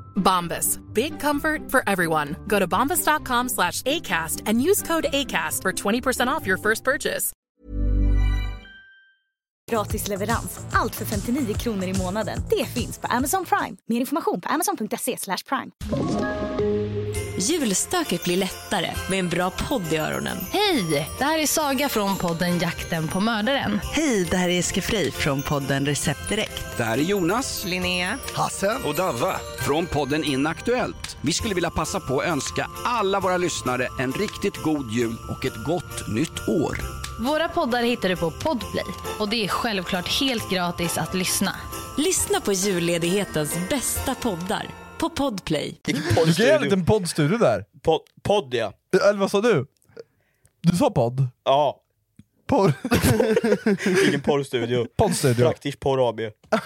[SPEAKER 13] Bombas. Big comfort for everyone. Go to bombas.com slash ACAST and use code ACAST for 20% off your first purchase.
[SPEAKER 8] gratis leverans. Allt för 59 kronor i månaden. Det finns på Amazon Prime. Mer information på amazon.se slash prime.
[SPEAKER 13] Julstöket blir lättare med en bra podd i öronen.
[SPEAKER 12] Hej! Det här är Saga från podden Jakten på mördaren.
[SPEAKER 10] Hej, det här är Jessica Frey från podden Recept Direkt.
[SPEAKER 11] Det här är Jonas.
[SPEAKER 10] Linnea.
[SPEAKER 11] Hasse. Och Davva från podden Inaktuellt. Vi skulle vilja passa på att önska alla våra lyssnare en riktigt god jul och ett gott nytt år.
[SPEAKER 12] Våra poddar hittar du på Podplay och det är självklart helt gratis att lyssna.
[SPEAKER 9] Lyssna på julledighetens bästa poddar på Podplay.
[SPEAKER 2] Du kan göra en liten poddstudio där.
[SPEAKER 3] Pod, podd ja.
[SPEAKER 2] Eller vad sa du? Du sa podd?
[SPEAKER 3] Ja.
[SPEAKER 2] Porr.
[SPEAKER 3] Ingen porrstudio.
[SPEAKER 2] <laughs> Poddstudio.
[SPEAKER 3] Praktisk porr AB.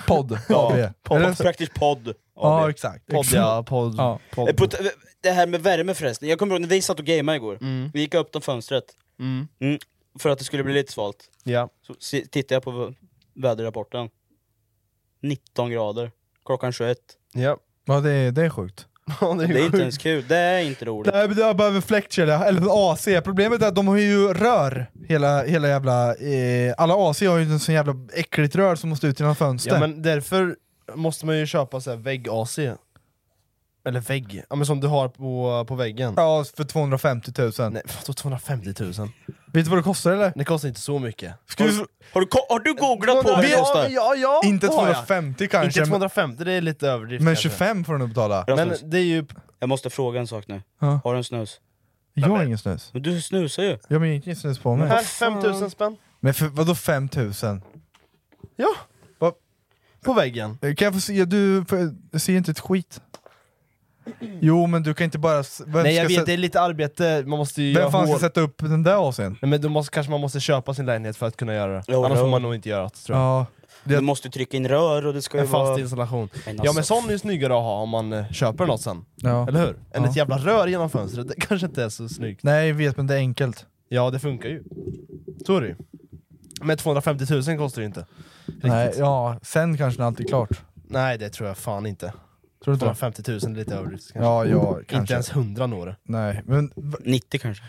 [SPEAKER 2] Podd.
[SPEAKER 3] Ja.
[SPEAKER 2] AB. Är det
[SPEAKER 3] Podd,
[SPEAKER 2] så?
[SPEAKER 3] praktisk podd.
[SPEAKER 2] Ja,
[SPEAKER 3] AB.
[SPEAKER 2] exakt. Podd, ja, podd, Ja. podd.
[SPEAKER 3] Eh, på t- Det här med värme förresten, jag kommer ihåg när vi satt och gamade igår, vi gick upp till fönstret
[SPEAKER 1] Mm.
[SPEAKER 3] Mm, för att det skulle bli lite svalt.
[SPEAKER 1] Ja.
[SPEAKER 3] Så se- tittade jag på vä- väderrapporten. 19 grader, klockan 21.
[SPEAKER 1] Ja.
[SPEAKER 2] Ja, det, är- det är sjukt.
[SPEAKER 3] det, är inte ens kul, det är inte roligt.
[SPEAKER 2] Nej men jag behöver fläktkedja, eller en AC. Problemet är att de har ju rör, hela, hela jävla... Eh, alla AC har ju en sån jävla äckligt rör som måste ut genom fönster.
[SPEAKER 1] Ja, men därför måste man ju köpa så här vägg-AC. Eller vägg, ja, men som du har på, på väggen.
[SPEAKER 2] Ja, för 250 000.
[SPEAKER 1] Nej, vadå 250 000?
[SPEAKER 2] Vet du vad det kostar eller?
[SPEAKER 1] Det kostar inte så mycket.
[SPEAKER 2] Har du-
[SPEAKER 3] har, du, googlat
[SPEAKER 2] på vad det
[SPEAKER 1] ja,
[SPEAKER 2] kostar?
[SPEAKER 1] ja, ja,
[SPEAKER 2] Inte
[SPEAKER 1] det har jag.
[SPEAKER 2] 250 kanske,
[SPEAKER 1] Inte
[SPEAKER 2] men-
[SPEAKER 1] 250, det är lite överdrift
[SPEAKER 2] Men
[SPEAKER 1] kanske.
[SPEAKER 2] 25 får de nog betala.
[SPEAKER 3] Men
[SPEAKER 1] det är ju...
[SPEAKER 3] Jag måste fråga en sak nu.
[SPEAKER 2] Ja.
[SPEAKER 3] Har du en snus?
[SPEAKER 2] Jag har ingen snus.
[SPEAKER 3] Men du snusar ju.
[SPEAKER 2] Jag har ingen snus på mig.
[SPEAKER 1] Här, 5000 spänn.
[SPEAKER 2] Men för, vadå 5000?
[SPEAKER 1] Ja.
[SPEAKER 2] Va?
[SPEAKER 1] På väggen.
[SPEAKER 2] Eh, Kan jag få se? Du för, jag ser inte ett skit. Jo men du kan inte bara... s- vem
[SPEAKER 1] Nej
[SPEAKER 2] ska
[SPEAKER 1] jag vet,
[SPEAKER 2] sätta-
[SPEAKER 1] det är lite arbete, man måste ju
[SPEAKER 2] Vem
[SPEAKER 1] göra
[SPEAKER 2] fan ska
[SPEAKER 1] hål.
[SPEAKER 2] sätta upp den där AC'n?
[SPEAKER 1] Nej, men då måste, kanske man måste köpa sin lägenhet för att kunna göra det.
[SPEAKER 3] Jo,
[SPEAKER 1] Annars
[SPEAKER 3] jo.
[SPEAKER 1] får man nog inte göra det tror jag.
[SPEAKER 2] Ja,
[SPEAKER 3] Du måste ju trycka in rör och det ska ju
[SPEAKER 1] En fast
[SPEAKER 3] vara...
[SPEAKER 1] installation.
[SPEAKER 3] Men
[SPEAKER 1] Ja
[SPEAKER 3] alltså,
[SPEAKER 1] men sån är ju snyggare att ha om man eh, köper något sen.
[SPEAKER 2] Ja.
[SPEAKER 1] Eller hur? Än
[SPEAKER 2] Ja.
[SPEAKER 1] ett jävla rör genom fönstret, det kanske inte är så snyggt.
[SPEAKER 2] Nej jag vet men det är enkelt.
[SPEAKER 1] Ja det funkar ju. Så är det ju. Men 250 000 kostar det ju inte. Riktigt.
[SPEAKER 2] Nej, ja, sen kanske när allt är klart.
[SPEAKER 1] Nej det tror jag fan inte.
[SPEAKER 2] Tror du inte?
[SPEAKER 1] 250 000 är lite överdrift kanske.
[SPEAKER 2] Ja, ja,
[SPEAKER 1] Inte
[SPEAKER 2] kanske.
[SPEAKER 1] ens 100 når det.
[SPEAKER 2] Nej, men...
[SPEAKER 3] 90 kanske.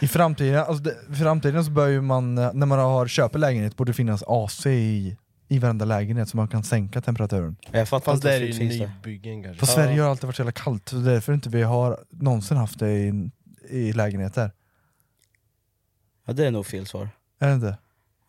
[SPEAKER 2] I framtiden, alltså det, i framtiden så bör ju man, eh, när man har köper lägenhet, borde det finnas AC i, i varenda lägenhet så man kan sänka temperaturen.
[SPEAKER 3] Jag fattar
[SPEAKER 1] Fast
[SPEAKER 3] inte
[SPEAKER 1] det är
[SPEAKER 3] varför
[SPEAKER 1] ju
[SPEAKER 3] det finns där.
[SPEAKER 1] nybyggen
[SPEAKER 2] För
[SPEAKER 1] kanske.
[SPEAKER 2] Sverige har alltid varit så jävla kallt, så det är därför inte vi har någonsin haft det i, i lägenheter.
[SPEAKER 3] Ja det är nog fel svar.
[SPEAKER 2] Är det inte?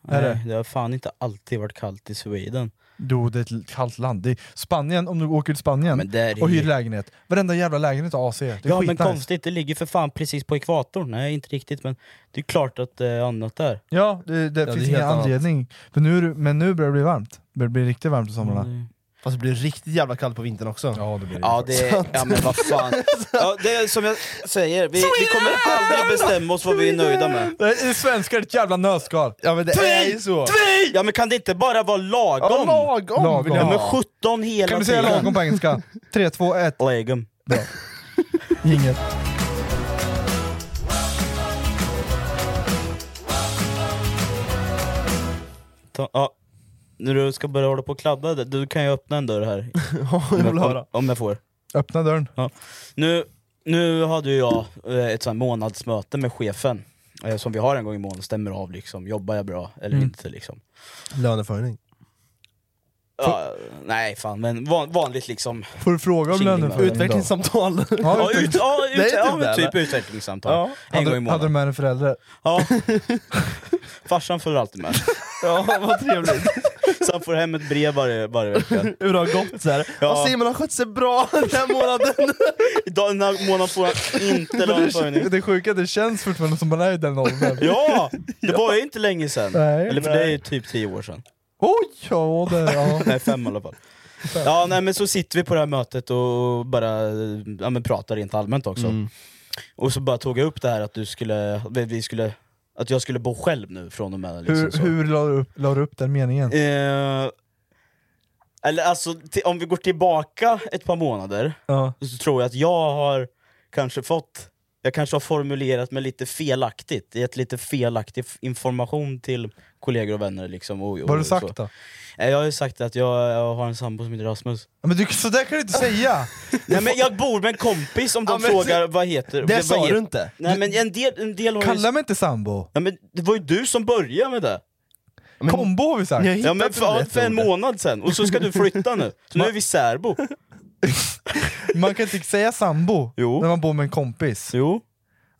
[SPEAKER 2] Är
[SPEAKER 3] Nej,
[SPEAKER 2] det?
[SPEAKER 3] det har fan inte alltid varit kallt i Sweden.
[SPEAKER 2] Jo, det är ett l- kallt land. Det är Spanien, om du åker till Spanien
[SPEAKER 3] där är
[SPEAKER 2] och hyr
[SPEAKER 3] ju-
[SPEAKER 2] lägenhet, varenda jävla lägenhet har AC. Det är
[SPEAKER 3] Ja men
[SPEAKER 2] skitnice.
[SPEAKER 3] konstigt, det ligger för fan precis på ekvatorn. Nej inte riktigt men det är klart att det är annat där.
[SPEAKER 2] Ja, det, det
[SPEAKER 3] det
[SPEAKER 2] finns
[SPEAKER 3] är
[SPEAKER 2] ingen
[SPEAKER 3] helt annat.
[SPEAKER 2] anledning. För nu, är det- men nu börjar det bli varmt. Det börjar bli riktigt varmt på somrarna.
[SPEAKER 3] Mm.
[SPEAKER 1] Fast det blir riktigt jävla kallt på vintern också.
[SPEAKER 2] Ja det blir
[SPEAKER 3] Ja, det, ja men vad fan. Ja, det är som jag säger, vi, vi kommer aldrig bestämma oss vad vi är nöjda med.
[SPEAKER 2] Det är svenskar ett jävla nöskal.
[SPEAKER 1] Ja men det
[SPEAKER 3] är ju så. Ja men kan det inte bara vara lagom?
[SPEAKER 2] Ja, lagom vill jag
[SPEAKER 3] Ja, men
[SPEAKER 2] ha.
[SPEAKER 3] 17 hela
[SPEAKER 2] Kan du säga
[SPEAKER 3] tiden.
[SPEAKER 2] lagom på engelska? 3, 2, 1.
[SPEAKER 3] Lagom.
[SPEAKER 2] Bra. Jingel.
[SPEAKER 3] Ta, ja. När du ska börja hålla på och kladda, där, du kan ju öppna en dörr här.
[SPEAKER 1] jag vill
[SPEAKER 3] Om-
[SPEAKER 1] höra.
[SPEAKER 3] Om jag får.
[SPEAKER 2] Öppna dörren.
[SPEAKER 3] Ja. Nu, nu hade ju jag eh, ett sånt här månadsmöte med chefen, eh, som vi har en gång i månaden, stämmer av liksom, jobbar jag bra eller
[SPEAKER 1] Mm.
[SPEAKER 3] inte liksom.
[SPEAKER 1] Löneförhöjning.
[SPEAKER 3] Ja, nej fan, men van, vanligt liksom.
[SPEAKER 2] Får du fråga om
[SPEAKER 3] Chilling
[SPEAKER 2] löneförhöjning då?
[SPEAKER 1] Utvecklingssamtal.
[SPEAKER 3] Ja, ut, ja,
[SPEAKER 2] Det är
[SPEAKER 3] ut, ja, men
[SPEAKER 2] det,
[SPEAKER 3] typ
[SPEAKER 2] eller?
[SPEAKER 3] utvecklingssamtal. En
[SPEAKER 2] Hade-
[SPEAKER 3] gång i månaden.
[SPEAKER 2] Hade du med dig föräldrar?
[SPEAKER 3] Ja. Farsan följer alltid med.
[SPEAKER 1] Ja, vad trevligt.
[SPEAKER 3] Så han får hem ett brev varje, varje vecka.
[SPEAKER 1] Hur det har gått såhär. Ja. Simon har skött sig bra den här månaden.
[SPEAKER 3] Idag, den här månaden får han inte
[SPEAKER 2] Men
[SPEAKER 3] löneförhöjning.
[SPEAKER 2] det, det sjuka det känns fortfarande som man är i den åldern.
[SPEAKER 3] <laughs>
[SPEAKER 2] <laughs>
[SPEAKER 3] Ja! Det var ju inte länge sedan.
[SPEAKER 2] Nej.
[SPEAKER 3] Eller för det är ju typ tio år sedan.
[SPEAKER 2] Oj, ja, det,
[SPEAKER 3] <laughs>
[SPEAKER 2] ja.
[SPEAKER 3] Nej, fem i alla fall. Ja, nej, men så sitter vi på det här mötet och bara ja, men pratar rent allmänt också.
[SPEAKER 2] Mm.
[SPEAKER 3] Och så bara tog jag upp det här att du skulle, vi skulle, att jag skulle bo själv nu från och med. Liksom,
[SPEAKER 2] Hur,
[SPEAKER 3] så.
[SPEAKER 2] hur la, du upp, la du upp den meningen?
[SPEAKER 3] Eh, eller alltså, ti- om vi går tillbaka ett par månader,
[SPEAKER 2] Ja.
[SPEAKER 3] så tror jag att jag har kanske fått, jag kanske har formulerat mig lite felaktigt, gett lite felaktig f- information till kollegor och vänner. Liksom, och, och,
[SPEAKER 2] Vad har du
[SPEAKER 3] så.
[SPEAKER 2] sagt då?
[SPEAKER 3] Eh, Jag har ju sagt att jag, jag har en sambo som heter Rasmus.
[SPEAKER 2] Ja, Men du, sådär kan du inte säga!
[SPEAKER 3] Nej men jag bor med
[SPEAKER 2] <laughs>
[SPEAKER 3] en kompis om de
[SPEAKER 2] Ja, men-
[SPEAKER 3] frågar vad heter
[SPEAKER 2] Det
[SPEAKER 3] vad
[SPEAKER 2] sa
[SPEAKER 3] heter-
[SPEAKER 2] du inte.
[SPEAKER 3] Nej men en del, en del har ju...
[SPEAKER 2] Kalla mig inte sambo!
[SPEAKER 3] Ja, men det var ju du som började med det!
[SPEAKER 2] Kombo har vi sagt! <laughs>
[SPEAKER 3] Ja men för, för en månad sen, och så ska du flytta nu. Så nu är vi särbo.
[SPEAKER 2] Man kan inte säga sambo när man bor med en kompis.
[SPEAKER 3] Jo.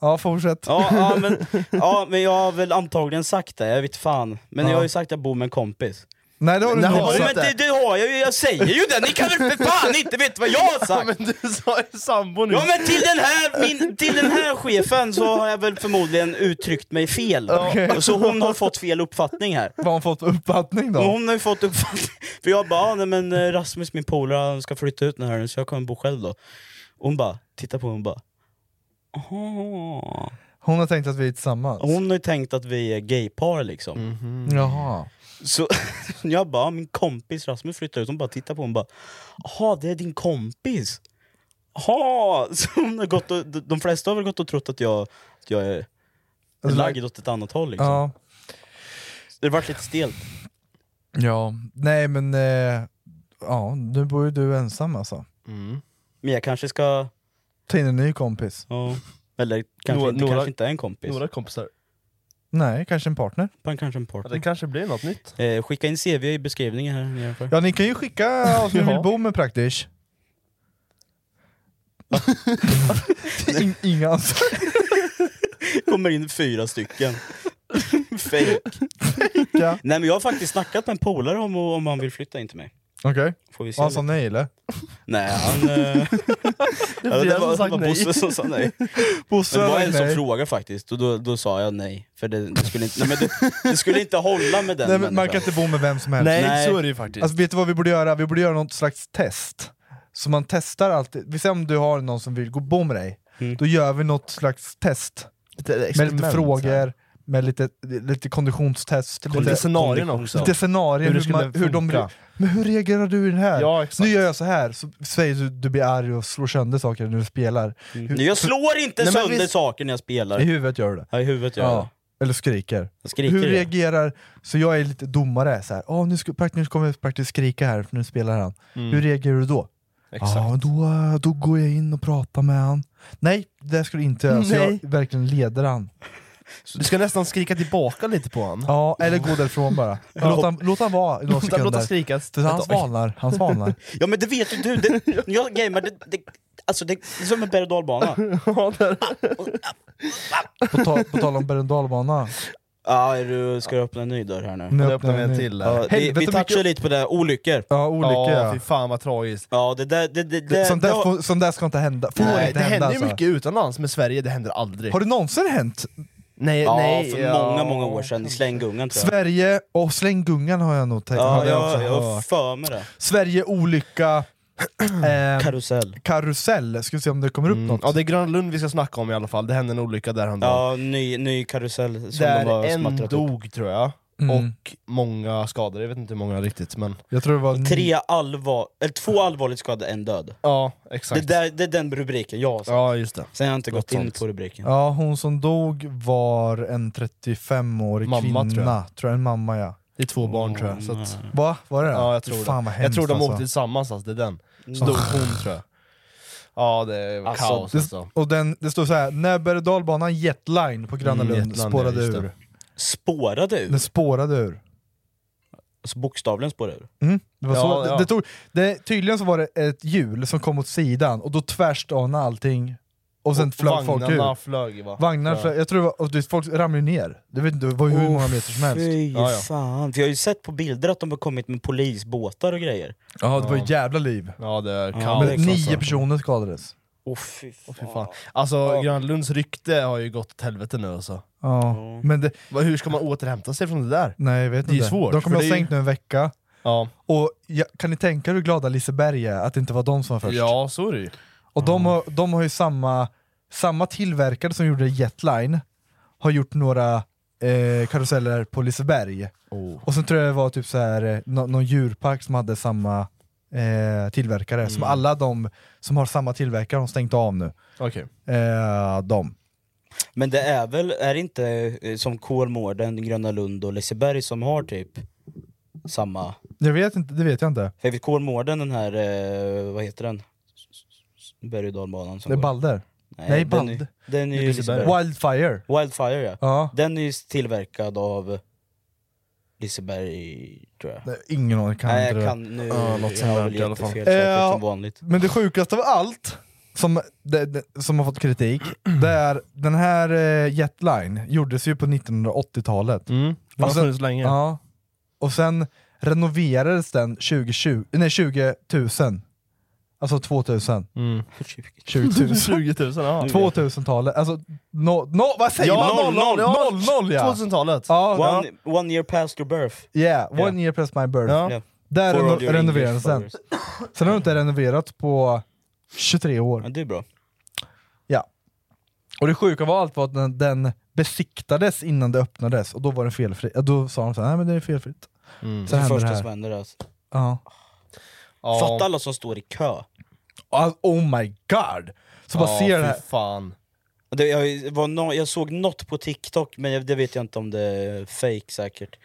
[SPEAKER 2] Ja, fortsätt.
[SPEAKER 3] Ja, ja, men, ja, men jag har väl antagligen sagt det, jag vet fan. Men
[SPEAKER 2] Ja.
[SPEAKER 3] jag har ju sagt att jag bor med en kompis.
[SPEAKER 2] Nej det har du
[SPEAKER 3] Nej,
[SPEAKER 2] nog
[SPEAKER 3] men
[SPEAKER 2] sagt.
[SPEAKER 3] det, det har jag ju, jag säger ju det! Ni kan väl för fan inte veta vad jag har sagt!
[SPEAKER 1] men du sa ju sambo nu.
[SPEAKER 3] Ja men till den, här, min, till den här chefen så har jag väl förmodligen uttryckt mig fel.
[SPEAKER 2] Okej.
[SPEAKER 3] Så hon har fått fel uppfattning här.
[SPEAKER 2] Vad har hon fått uppfattning då?
[SPEAKER 3] Och hon har ju fått uppfattning. <laughs> För jag bara, "Ah, nej, men eh, Rasmus min polare han ska flytta ut den här nu så jag kommer bo själv då. Och hon bara, titta på mig och bara, "Aha."
[SPEAKER 2] Hon har tänkt att vi är tillsammans.
[SPEAKER 3] hon har ju tänkt att vi är gaypar liksom.
[SPEAKER 2] Jaha.
[SPEAKER 3] Så <laughs> jag bara, "Ah, min kompis Rasmus flyttar ut. Hon bara tittar på mig och bara, jaha det är din kompis? Jaha! <laughs> Så hon har gått och, de- de flesta har väl gått och trott att jag, att jag är
[SPEAKER 1] Alltså,
[SPEAKER 3] lagd åt ett annat håll liksom.
[SPEAKER 2] Ja.
[SPEAKER 3] Det har varit lite stelt.
[SPEAKER 2] ja. Nej men, eh, ja nu bor ju du ensam alltså.
[SPEAKER 3] Men jag kanske ska...
[SPEAKER 2] Ta in en ny kompis.
[SPEAKER 3] Ja. Eller kanske,
[SPEAKER 1] Några-
[SPEAKER 3] inte,
[SPEAKER 1] några-
[SPEAKER 3] kanske inte är en kompis.
[SPEAKER 1] Några kompisar.
[SPEAKER 2] Nej, kanske en partner.
[SPEAKER 3] Pan- Kanske en partner.
[SPEAKER 1] Det kanske blir något nytt.
[SPEAKER 3] Eh, skicka in CV i beskrivningen här nedanför.
[SPEAKER 2] Ja ni kan ju skicka oss
[SPEAKER 3] <laughs>
[SPEAKER 2] ni vill bo med <laughs> praktiskt. In, inga ansökningar.
[SPEAKER 3] kommer in
[SPEAKER 1] <laughs>
[SPEAKER 3] fyra stycken. Fake.
[SPEAKER 2] Ja.
[SPEAKER 3] Nej men jag har faktiskt snackat med en polare om, om han vill flytta in till mig.
[SPEAKER 2] Okej.
[SPEAKER 3] Får vi se
[SPEAKER 2] Han sa nej eller?
[SPEAKER 3] <laughs> Nej han... Eh...
[SPEAKER 2] Det
[SPEAKER 3] ja,
[SPEAKER 2] var jag som
[SPEAKER 3] var,
[SPEAKER 2] sagt
[SPEAKER 3] var Bosse
[SPEAKER 2] nej.
[SPEAKER 3] som sa nej.
[SPEAKER 2] <laughs> Bosse
[SPEAKER 3] men det var
[SPEAKER 2] var
[SPEAKER 3] en som
[SPEAKER 2] nej.
[SPEAKER 3] frågade faktiskt och då, då sa jag nej. För det, det, skulle inte, nej, men det, det skulle inte hålla med den
[SPEAKER 2] Nej, men man
[SPEAKER 3] människan.
[SPEAKER 2] kan inte bo med vem som helst.
[SPEAKER 3] Nej, Nej. så är det ju faktiskt.
[SPEAKER 2] Alltså, vet du vad vi borde göra? Vi borde göra något slags test. Så man testar alltid, vi säger om du har någon som vill gå bo med dig,
[SPEAKER 1] Mm.
[SPEAKER 2] då gör vi något slags test. med lite
[SPEAKER 1] experiment, så
[SPEAKER 2] frågor,
[SPEAKER 1] här.
[SPEAKER 2] med lite, lite konditionstest.
[SPEAKER 1] Lite scenarion också.
[SPEAKER 2] Lite scenarier,
[SPEAKER 1] Hur det
[SPEAKER 2] hur, man,
[SPEAKER 1] skulle
[SPEAKER 2] hur de...
[SPEAKER 1] funka.
[SPEAKER 2] Men hur reagerar du i den här?
[SPEAKER 1] Ja,
[SPEAKER 2] nu gör jag så här, så säger du du blir arg och slår sönder saker när du spelar.
[SPEAKER 1] Mm.
[SPEAKER 2] Hur,
[SPEAKER 3] Nej, Jag slår inte
[SPEAKER 2] Nej, men
[SPEAKER 3] sönder
[SPEAKER 2] visst-
[SPEAKER 3] saker när jag spelar.
[SPEAKER 2] I huvudet gör du det.
[SPEAKER 3] Ja, i huvudet gör jag det.
[SPEAKER 2] Ja. Eller skriker.
[SPEAKER 3] skriker,
[SPEAKER 2] Hur
[SPEAKER 3] ja.
[SPEAKER 2] reagerar, så jag är lite domare, så här, "Åh, nu, ska, prak- nu kommer jag faktiskt skrika här för nu spelar han.
[SPEAKER 1] Mm.
[SPEAKER 2] Hur reagerar du då?
[SPEAKER 1] Exakt.
[SPEAKER 2] Ja, då, eh, då går jag in och pratar med han. Nej, det ska du inte göra, så
[SPEAKER 1] Nej.
[SPEAKER 2] jag verkligen leder han.
[SPEAKER 1] Du ska nästan skrika tillbaka lite på honom.
[SPEAKER 2] Ja, eller gå därifrån
[SPEAKER 1] <laughs>
[SPEAKER 2] bara. Låt han, låt han vara i några
[SPEAKER 1] Låt han-
[SPEAKER 2] sekunder.
[SPEAKER 1] låt han skrika ett-
[SPEAKER 2] För han
[SPEAKER 1] ett tag.
[SPEAKER 2] svalnar, han svalnar.
[SPEAKER 3] Ja men det vet ju du, det, jag gamer, det, det, alltså det, det är som en berg och dalbana.
[SPEAKER 2] På, ta, på tal om berg och dalbana.
[SPEAKER 3] Ja, är du, ska du öppna en ny dörr här nu?
[SPEAKER 2] Nu öppnar öppnar vi en en ny. till där.
[SPEAKER 3] Ja, vi
[SPEAKER 2] Helvete,
[SPEAKER 3] vi
[SPEAKER 2] mycket-
[SPEAKER 3] touchar lite på det, här, olyckor.
[SPEAKER 2] Ja, olyckor,
[SPEAKER 1] Ja,
[SPEAKER 2] ja.
[SPEAKER 1] fy fan vad tragiskt.
[SPEAKER 3] Ja, det där... Det, det, det,
[SPEAKER 2] sånt, där,
[SPEAKER 3] det-
[SPEAKER 2] får- sånt där ska inte hända. Får
[SPEAKER 1] Nej,
[SPEAKER 2] inte
[SPEAKER 1] det
[SPEAKER 2] hända
[SPEAKER 1] händer ju
[SPEAKER 2] alltså.
[SPEAKER 1] mycket utomlands, men i Sverige det händer aldrig.
[SPEAKER 2] Har det någonsin hänt?
[SPEAKER 1] Nej,
[SPEAKER 3] ja,
[SPEAKER 1] nej,
[SPEAKER 3] för
[SPEAKER 1] ja.
[SPEAKER 3] många, många år sedan. I slänggungan tror jag.
[SPEAKER 2] Sverige, och slänggungan har jag nog tänkt.
[SPEAKER 3] Ja,
[SPEAKER 2] har jag
[SPEAKER 3] jag
[SPEAKER 2] också
[SPEAKER 3] jag har
[SPEAKER 2] hört.
[SPEAKER 3] för mig det.
[SPEAKER 2] Sverige olycka...
[SPEAKER 1] <clears throat>
[SPEAKER 2] ehm,
[SPEAKER 3] karusell.
[SPEAKER 2] Karusell, ska vi se om det kommer upp något.
[SPEAKER 1] Mm. Ja, det är Gröna Lund vi ska snacka om i alla fall. Det hände en olycka där han
[SPEAKER 3] Ja, ny, ny karusell som de
[SPEAKER 1] Där
[SPEAKER 3] har
[SPEAKER 1] en
[SPEAKER 3] smattrat upp.
[SPEAKER 1] dog tror jag,
[SPEAKER 2] Mm.
[SPEAKER 1] och många skadade. Jag vet inte hur många riktigt men...
[SPEAKER 2] Jag tror det var...
[SPEAKER 3] Tre allvar, eller två allvarligt skadade, en död.
[SPEAKER 1] Ja,
[SPEAKER 3] Det,
[SPEAKER 1] exakt.
[SPEAKER 3] där, det är den rubriken jag har sagt.
[SPEAKER 1] Ja, just det.
[SPEAKER 3] Sen har jag inte gått
[SPEAKER 1] Något
[SPEAKER 3] in
[SPEAKER 1] sånt.
[SPEAKER 3] på rubriken.
[SPEAKER 2] Ja, hon som dog var en 35-årig
[SPEAKER 1] Mamma,
[SPEAKER 2] kvinna.
[SPEAKER 1] tror
[SPEAKER 2] Tror
[SPEAKER 1] jag.
[SPEAKER 2] jag. en mamma ja.
[SPEAKER 1] Det är två barn tror jag. Så att...
[SPEAKER 2] Va? Var det det?
[SPEAKER 1] Ja, jag tror
[SPEAKER 2] Fan
[SPEAKER 1] det.
[SPEAKER 2] vad
[SPEAKER 1] jag
[SPEAKER 2] hemskt
[SPEAKER 1] tror de
[SPEAKER 2] alltså.
[SPEAKER 1] åkte tillsammans alltså, det är den. Så
[SPEAKER 2] Mm.
[SPEAKER 1] dog hon tror jag. Ja, det var
[SPEAKER 2] Alltså,
[SPEAKER 1] kaos
[SPEAKER 2] det,
[SPEAKER 1] alltså.
[SPEAKER 2] Och den, det står så här, när berg och dalbanan Jetline på Gröna
[SPEAKER 1] Mm,
[SPEAKER 2] Lund
[SPEAKER 1] Jetline,
[SPEAKER 2] spårade
[SPEAKER 1] ja, just det.
[SPEAKER 2] ur.
[SPEAKER 3] Spårade ur?
[SPEAKER 2] Den spårade ur.
[SPEAKER 3] Alltså bokstavligen spårade ur?
[SPEAKER 2] Mm, det var
[SPEAKER 3] Ja,
[SPEAKER 2] så.
[SPEAKER 3] ja.
[SPEAKER 2] Det, det tog, det, tydligen så var det ett hjul som kom åt sidan och då tvärsdanade allting och sen
[SPEAKER 1] Och
[SPEAKER 2] flög folk
[SPEAKER 1] vagnarna
[SPEAKER 2] ur.
[SPEAKER 1] flög va?
[SPEAKER 2] Vagnar
[SPEAKER 1] Ja.
[SPEAKER 2] flög, jag tror det var, och du vet, folk ramlade ju ner. Det, vet, inte, det var ju hur
[SPEAKER 3] Åh,
[SPEAKER 2] många meter som helst.
[SPEAKER 3] Fy fan. För jag har ju sett på bilder att de har kommit med polisbåtar och grejer.
[SPEAKER 2] Ja, det var ett jävla liv.
[SPEAKER 1] Ja, det är
[SPEAKER 2] Ja,
[SPEAKER 1] kaos
[SPEAKER 2] men nio
[SPEAKER 1] alltså.
[SPEAKER 2] personer skadades.
[SPEAKER 3] Åh fy fan.
[SPEAKER 1] Fan. Alltså Gröna Lunds rykte har ju gått åt helvete nu alltså.
[SPEAKER 2] Ja. Men det,
[SPEAKER 1] Vad- Hur ska man återhämta sig från det där?
[SPEAKER 2] nej, jag vet
[SPEAKER 1] Det är
[SPEAKER 2] inte.
[SPEAKER 1] svårt,
[SPEAKER 2] de kommer
[SPEAKER 1] för
[SPEAKER 2] ha
[SPEAKER 1] det är ju-
[SPEAKER 2] stängt nu en vecka.
[SPEAKER 1] Ja,
[SPEAKER 2] Och jag, kan ni tänka er hur glada Liseberg är att det inte var de som var först?
[SPEAKER 1] ja så är det ju.
[SPEAKER 2] Och de har, de har ju samma, samma tillverkare som gjorde Jetline, har gjort några eh, karuseller på Liseberg. Och sen tror jag det var typ så här, eh, nå- någon djurpark som hade samma eh, tillverkare, som
[SPEAKER 3] Mm.
[SPEAKER 2] alla de som har samma tillverkare har stängt av nu.
[SPEAKER 1] Okej.
[SPEAKER 2] Eh, de.
[SPEAKER 3] Men det är väl, är det inte eh, som Kolmården, Gröna Lund och Liseberg som har typ samma?
[SPEAKER 2] Jag vet inte, det vet jag inte.
[SPEAKER 3] För jag vet Kolmården den här, eh, vad heter den? Berg och dalbanan som
[SPEAKER 2] Det är
[SPEAKER 3] går.
[SPEAKER 2] Balder.
[SPEAKER 3] Nej,
[SPEAKER 2] Nej,
[SPEAKER 3] den,
[SPEAKER 2] Balder.
[SPEAKER 3] är- den är ju Liseberg.
[SPEAKER 2] Wildfire.
[SPEAKER 3] Wildfire ja.
[SPEAKER 2] Ja.
[SPEAKER 3] Den är ju tillverkad av Liseberg tror jag.
[SPEAKER 2] Nej, ingen aning, kan
[SPEAKER 3] Nej,
[SPEAKER 2] inte
[SPEAKER 3] jag
[SPEAKER 2] det.
[SPEAKER 3] kan nu.
[SPEAKER 2] Ja, något
[SPEAKER 3] jag
[SPEAKER 2] sånt
[SPEAKER 3] har
[SPEAKER 2] där
[SPEAKER 3] väl
[SPEAKER 2] i alla fall.
[SPEAKER 3] jättefel saker
[SPEAKER 2] Eh,
[SPEAKER 3] som vanligt.
[SPEAKER 2] Men det sjukaste av allt, som, det, det, som har fått kritik, det är den här eh, Jetline gjordes ju på 1980-talet. Mm.
[SPEAKER 1] fast nu så länge.
[SPEAKER 2] Ja, och sen renoverades den 2020, nej, 20 000. Alltså 2000.
[SPEAKER 1] Mm.
[SPEAKER 2] 20 000.
[SPEAKER 3] <laughs>
[SPEAKER 1] 20 000, ja.
[SPEAKER 2] 2000-talet, alltså no, no, vad säger
[SPEAKER 3] Ja,
[SPEAKER 2] man?
[SPEAKER 3] 00, ja.
[SPEAKER 2] 00 ja!
[SPEAKER 3] 2000-talet.
[SPEAKER 2] Ja, ja.
[SPEAKER 3] one, one year past your birth.
[SPEAKER 2] Yeah, one
[SPEAKER 3] Yeah.
[SPEAKER 2] year past my birth.
[SPEAKER 3] Ja. Yeah.
[SPEAKER 2] Där
[SPEAKER 3] For all
[SPEAKER 2] reno-
[SPEAKER 3] your
[SPEAKER 2] renoverades
[SPEAKER 3] English
[SPEAKER 2] den. Sen har det inte renoverats på 23 år.
[SPEAKER 3] Ja, det är bra.
[SPEAKER 2] Ja. Och det sjuka var allt var att den, den besiktades innan det öppnades, och då var den felfri. Ja, Då sa de såhär, nej men det är felfritt.
[SPEAKER 3] Mm.
[SPEAKER 2] Sen
[SPEAKER 3] det
[SPEAKER 2] hände det
[SPEAKER 3] första
[SPEAKER 2] här.
[SPEAKER 3] som händer alltså.
[SPEAKER 2] Ja.
[SPEAKER 3] Fatta alla som står i kö.
[SPEAKER 2] Alltså, oh my god! Så bara
[SPEAKER 3] Ja,
[SPEAKER 2] ser det
[SPEAKER 3] fy
[SPEAKER 2] här.
[SPEAKER 1] Fan.
[SPEAKER 3] Det, jag, var nå- jag såg något på TikTok, men jag, det vet jag inte om det är fake säkert.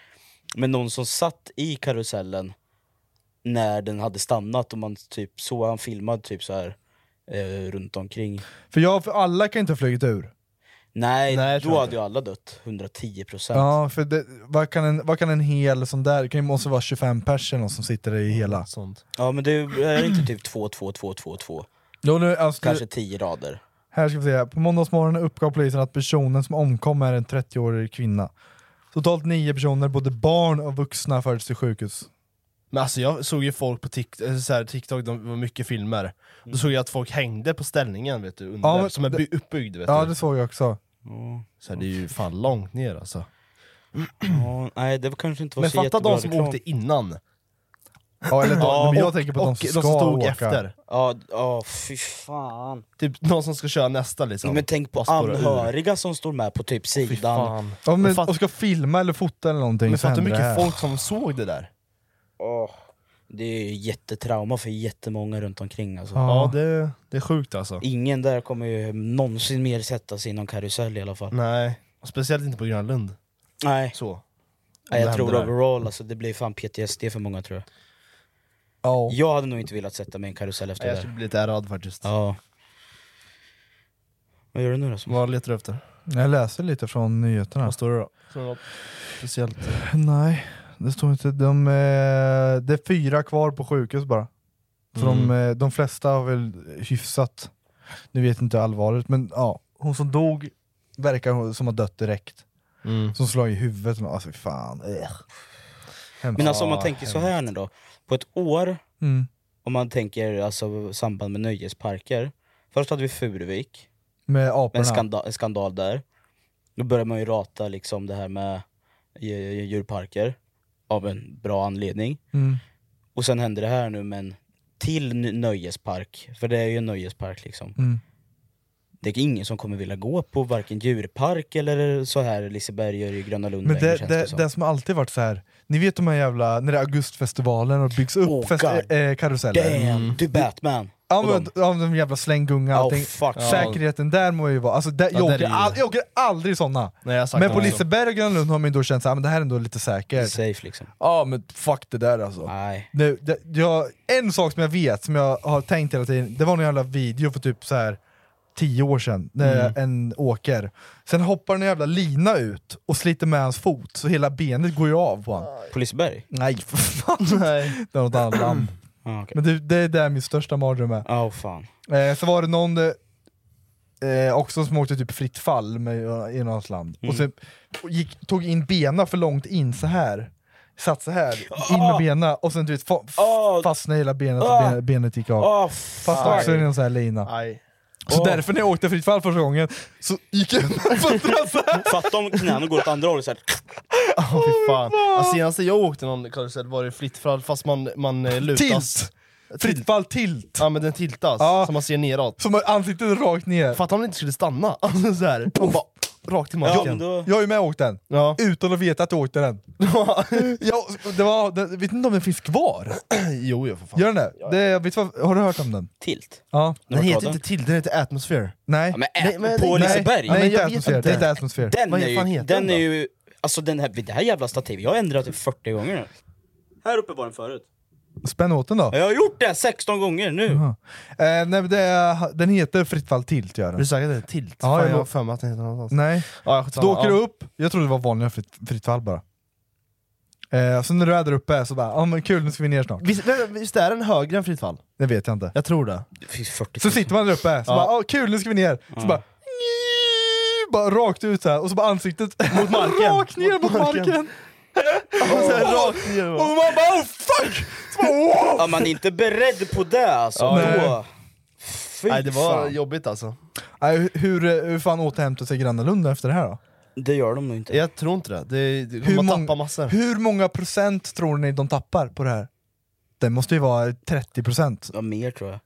[SPEAKER 3] Men någon som satt i karusellen när den hade stannat och man typ såg han filmad typ så här eh, runt omkring.
[SPEAKER 2] För, jag, för alla kan inte ha flugit ur.
[SPEAKER 3] Nej,
[SPEAKER 2] jag tror
[SPEAKER 3] då hade ju alla dött. 110 procent.
[SPEAKER 2] Ja, för det, vad, kan en, vad kan en hel sån där, det kan ju måste vara 25 personer som sitter i hela.
[SPEAKER 1] Sånt.
[SPEAKER 3] Ja men det är inte typ 2, 2, 2, 2, 2.
[SPEAKER 2] Jo, nu, alltså,
[SPEAKER 3] Kanske 10 rader.
[SPEAKER 2] Här ska vi se, på måndagsmorgonen uppgav polisen att personen som omkom är en 30-årig kvinna. Totalt nio personer, både barn och vuxna, fördes till sjukhus.
[SPEAKER 1] Men alltså jag såg ju folk på Tik- eh, så här, TikTok, de var mycket filmer. Då såg jag att folk hängde på ställningen vet du, under,
[SPEAKER 2] Ja, men
[SPEAKER 1] som är
[SPEAKER 2] det-
[SPEAKER 1] by- uppbyggd vet
[SPEAKER 2] Ja,
[SPEAKER 1] du.
[SPEAKER 2] det såg jag också.
[SPEAKER 1] Så här, det är ju fan långt ner alltså.
[SPEAKER 3] Ja, nej det var kanske inte var
[SPEAKER 1] Men
[SPEAKER 3] så
[SPEAKER 1] fatta
[SPEAKER 3] jättebra
[SPEAKER 1] de som
[SPEAKER 3] reklam.
[SPEAKER 1] åkte innan.
[SPEAKER 2] Ja, eller de- men jag
[SPEAKER 1] och-
[SPEAKER 2] tänker på de
[SPEAKER 1] och
[SPEAKER 2] som
[SPEAKER 1] de
[SPEAKER 2] ska
[SPEAKER 1] som stod
[SPEAKER 2] åka.
[SPEAKER 1] efter.
[SPEAKER 3] Ja, ja fy fan.
[SPEAKER 1] Typ någon som ska köra nästa liksom.
[SPEAKER 3] Men tänk på
[SPEAKER 1] Bara spåra ur.
[SPEAKER 3] anhöriga som står med på typ sidan.
[SPEAKER 2] Ja, men,
[SPEAKER 3] Men fatt-
[SPEAKER 2] och ska filma eller fota eller någonting
[SPEAKER 3] Men
[SPEAKER 2] så
[SPEAKER 3] fatta
[SPEAKER 2] händer
[SPEAKER 3] hur mycket
[SPEAKER 2] det här.
[SPEAKER 3] folk-
[SPEAKER 1] Som såg det där.
[SPEAKER 3] Åh, det är ju jättetrauma för jättemånga runt omkring alltså.
[SPEAKER 1] Ja, det, det är sjukt alltså.
[SPEAKER 3] Ingen där kommer ju någonsin mer sätta sig i någon karusell i alla
[SPEAKER 1] Mm.
[SPEAKER 3] fall.
[SPEAKER 1] Nej, och speciellt inte på Grönlund.
[SPEAKER 3] Nej.
[SPEAKER 1] Så.
[SPEAKER 3] Nej,
[SPEAKER 1] det
[SPEAKER 3] jag tror
[SPEAKER 1] händer där.
[SPEAKER 3] overall alltså, det blir fan PTSD för många tror jag.
[SPEAKER 2] Ja.
[SPEAKER 3] Jag hade nog inte velat sätta mig i en karusell efter
[SPEAKER 1] Nej, jag
[SPEAKER 3] det
[SPEAKER 1] skulle
[SPEAKER 3] där.
[SPEAKER 1] bli lite ärrad faktiskt.
[SPEAKER 3] Ja. Vad gör du nu då?
[SPEAKER 1] Vad letar du efter?
[SPEAKER 2] Jag läser lite från nyheterna. Vad
[SPEAKER 1] står det då? Står det något speciellt?
[SPEAKER 2] Nej, det står inte. De, eh, det är fyra kvar på sjukhus bara. Så de,
[SPEAKER 3] Mm.
[SPEAKER 2] eh, de flesta har väl hyfsat, nu vet inte allvaret, men ja. Hon som dog verkar som ha dött direkt.
[SPEAKER 3] Mm.
[SPEAKER 2] Som slog i huvudet, men alltså fy fan. Ugh. Hemskt.
[SPEAKER 3] Men alltså om man
[SPEAKER 2] Ja,
[SPEAKER 3] tänker så
[SPEAKER 2] hemskt.
[SPEAKER 3] här nu då, på ett år,
[SPEAKER 2] Mm.
[SPEAKER 3] om man tänker alltså samband med nöjesparker. Först hade vi Furuvik,
[SPEAKER 2] Med aporna.
[SPEAKER 3] en skandal, en skandal där. Då börjar man ju rata liksom det här med dju- djurparker av en bra anledning.
[SPEAKER 2] Mm.
[SPEAKER 3] Och sen händer det här nu med en till n- nöjespark, för det är ju en nöjespark liksom.
[SPEAKER 2] Mm.
[SPEAKER 3] Det är ingen som kommer vilja gå på varken djurpark eller så här Liseberg och i Gröna Lund
[SPEAKER 2] Men
[SPEAKER 3] längre,
[SPEAKER 2] det,
[SPEAKER 3] känns
[SPEAKER 2] det,
[SPEAKER 3] som.
[SPEAKER 2] det som alltid varit så här. ni vet de här jävla, när det är augustfestivalen och byggs upp
[SPEAKER 3] Oh,
[SPEAKER 2] fest,
[SPEAKER 3] God.
[SPEAKER 2] eh, karuseller.
[SPEAKER 3] Damn,
[SPEAKER 2] Mm.
[SPEAKER 3] du är Batman!
[SPEAKER 2] Ja
[SPEAKER 3] Och
[SPEAKER 2] men
[SPEAKER 3] de-
[SPEAKER 2] ja, de jävla slänggunga och allting.
[SPEAKER 3] fuck. Ja.
[SPEAKER 2] Säkerheten där må ju vara... Alltså, där,
[SPEAKER 3] Ja,
[SPEAKER 2] jag,
[SPEAKER 3] där
[SPEAKER 2] åker
[SPEAKER 3] är ju-
[SPEAKER 2] all, jag åker aldrig såna.
[SPEAKER 1] Nej, jag har sagt
[SPEAKER 2] Men
[SPEAKER 1] det
[SPEAKER 2] på
[SPEAKER 1] också.
[SPEAKER 2] Liseberg och Gröna Lund har man ju då känt att det här är ändå lite säkert.
[SPEAKER 3] Safe liksom.
[SPEAKER 2] Ja men fuck det där alltså.
[SPEAKER 3] Nej.
[SPEAKER 2] Nu, det, jag, en sak som jag vet, som jag har tänkt hela tiden, det var någon jävla video för typ så här tio år sedan, när
[SPEAKER 1] Mm.
[SPEAKER 2] en åker. Sen hoppar en jävla lina ut och sliter med hans fot, så hela benet går ju av på honom.
[SPEAKER 3] På Liseberg?
[SPEAKER 2] Nej för <laughs> fan! Det var något annat land.
[SPEAKER 3] Ah,
[SPEAKER 2] Men det, det är där min största mardröm är. <laughs>
[SPEAKER 3] Åh fan.
[SPEAKER 2] Eh, så var det någon eh, eh, också som åkte typ fritt fall med, eh, i något land,
[SPEAKER 3] Mm.
[SPEAKER 2] och sen gick, tog in bena för långt in så här Satt så här in med
[SPEAKER 3] Ah!
[SPEAKER 2] bena, och sen du vet, fa- f- fastnade hela benet, och
[SPEAKER 3] Ah!
[SPEAKER 2] benet, benet gick av.
[SPEAKER 3] Ah,
[SPEAKER 2] Fastnade också i en sån här lina. Så
[SPEAKER 3] Ah.
[SPEAKER 2] därför när jag åkte fritt fall första gången, så gick jag
[SPEAKER 3] <laughs> Fatta om knäna går åt andra hållet såhär.
[SPEAKER 1] Åh fy fan. Alltså, senaste jag åkte någon karusell var det fritt fall fast man, man eh, lutas.
[SPEAKER 2] Tilt! Fritt fall tilt!
[SPEAKER 1] Ja men den tiltas, så man ser neråt.
[SPEAKER 2] Som ansiktet rakt ner.
[SPEAKER 1] Fatta om den inte skulle stanna. <laughs> Alltså, så här. Man bara, rakt i marken.
[SPEAKER 2] Jag, jag har ju med åkt den, utan att veta att jag åkte
[SPEAKER 3] <laughs>
[SPEAKER 2] den. jag, det var, det, vet inte om den finns kvar?
[SPEAKER 1] jo, jag får fan.
[SPEAKER 2] Gör den det? det vet du vad, har du hört om den?
[SPEAKER 3] Tilt?
[SPEAKER 2] Ja.
[SPEAKER 1] Den heter inte till, den heter Atmosphere.
[SPEAKER 2] Nej.
[SPEAKER 3] på
[SPEAKER 2] nej,
[SPEAKER 3] Liseberg?
[SPEAKER 2] Nej,
[SPEAKER 3] Ja, men
[SPEAKER 2] inte
[SPEAKER 3] jag vet
[SPEAKER 2] atmosfär.
[SPEAKER 3] inte.
[SPEAKER 2] Det är inte atmosfär.
[SPEAKER 3] Den
[SPEAKER 2] Vad
[SPEAKER 3] är
[SPEAKER 2] fan
[SPEAKER 3] ju,
[SPEAKER 2] heter
[SPEAKER 3] den
[SPEAKER 2] då?
[SPEAKER 3] är ju, alltså den här, det här jävla stativet, jag har ändrat det 40 gånger nu. Här uppe var den förut.
[SPEAKER 2] Spänn åt den då.
[SPEAKER 3] Jag har gjort det 16 gånger nu.
[SPEAKER 2] Jaha. Eh, nej, men det är, den heter Fritt fall tilt gör den. Är
[SPEAKER 1] du säker? Det tilt?
[SPEAKER 2] Ja,
[SPEAKER 1] fan,
[SPEAKER 2] jag
[SPEAKER 1] jag har
[SPEAKER 2] lo-
[SPEAKER 1] för mig att den heter något annat.
[SPEAKER 2] Nej.
[SPEAKER 1] Ja, jag
[SPEAKER 2] så då
[SPEAKER 1] skitsamma,
[SPEAKER 2] åker du
[SPEAKER 1] ja.
[SPEAKER 2] upp, jag trodde det var vanliga fritt, fritt fall bara. Eh, så när du är där uppe så bara, ja men kul nu ska vi ner snart.
[SPEAKER 1] Visst, visst är den högre än fritt fall?
[SPEAKER 2] Det vet jag inte.
[SPEAKER 1] Jag tror det.
[SPEAKER 2] Så sitter man där uppe, så
[SPEAKER 1] Ja.
[SPEAKER 2] bara, ja kul nu ska vi ner. Så
[SPEAKER 1] Ja.
[SPEAKER 2] bara, bara rakt ut så här och så bara ansiktet mot <laughs>
[SPEAKER 1] marken.
[SPEAKER 2] rakt ner mot,
[SPEAKER 1] Mot marken.
[SPEAKER 2] marken.
[SPEAKER 1] Och så här rakt ner.
[SPEAKER 2] Och man bara oh fuck! Så bara, wow!
[SPEAKER 3] Ja, man är inte beredd på det alltså.
[SPEAKER 2] Ja, nej.
[SPEAKER 3] då. Fy
[SPEAKER 1] Nej, det var
[SPEAKER 3] fan.
[SPEAKER 1] jobbigt alltså.
[SPEAKER 2] Nej, hur- hur, eh, hur fan återhämtar sig Grannalunda efter det här då?
[SPEAKER 3] Det gör de nog inte.
[SPEAKER 1] Jag tror inte det. det, det
[SPEAKER 2] Hur
[SPEAKER 1] man
[SPEAKER 2] mång-
[SPEAKER 1] tappar massor.
[SPEAKER 2] Hur många procent tror ni de tappar på det här? Det måste ju vara 30 procent.
[SPEAKER 3] Ja, mer tror jag.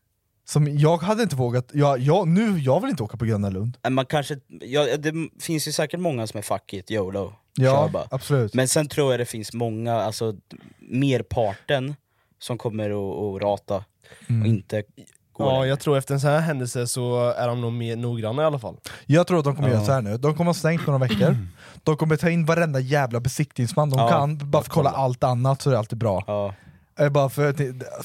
[SPEAKER 2] Som jag hade inte vågat, jag, jag, nu, jag vill inte åka på Gröna Lund.
[SPEAKER 3] Men Man kanske, ja, det finns ju säkert många som är fuck it, YOLO.
[SPEAKER 2] Ja,
[SPEAKER 3] Kör bara.
[SPEAKER 2] absolut.
[SPEAKER 3] Men sen tror jag det finns många, alltså merparten, som kommer att, att rata
[SPEAKER 2] Mm.
[SPEAKER 3] och inte gå
[SPEAKER 1] Ja,
[SPEAKER 3] längre.
[SPEAKER 1] jag tror efter en sån här händelse så är de nog mer noggranna i alla fall.
[SPEAKER 2] Jag tror att de kommer
[SPEAKER 1] Ja.
[SPEAKER 2] göra så här nu, de kommer ha stängt några veckor, de kommer ta in varenda jävla besiktningsman de
[SPEAKER 1] Ja,
[SPEAKER 2] kan, bara för att kolla allt annat så är det alltid bra. Eh, Bara för, att,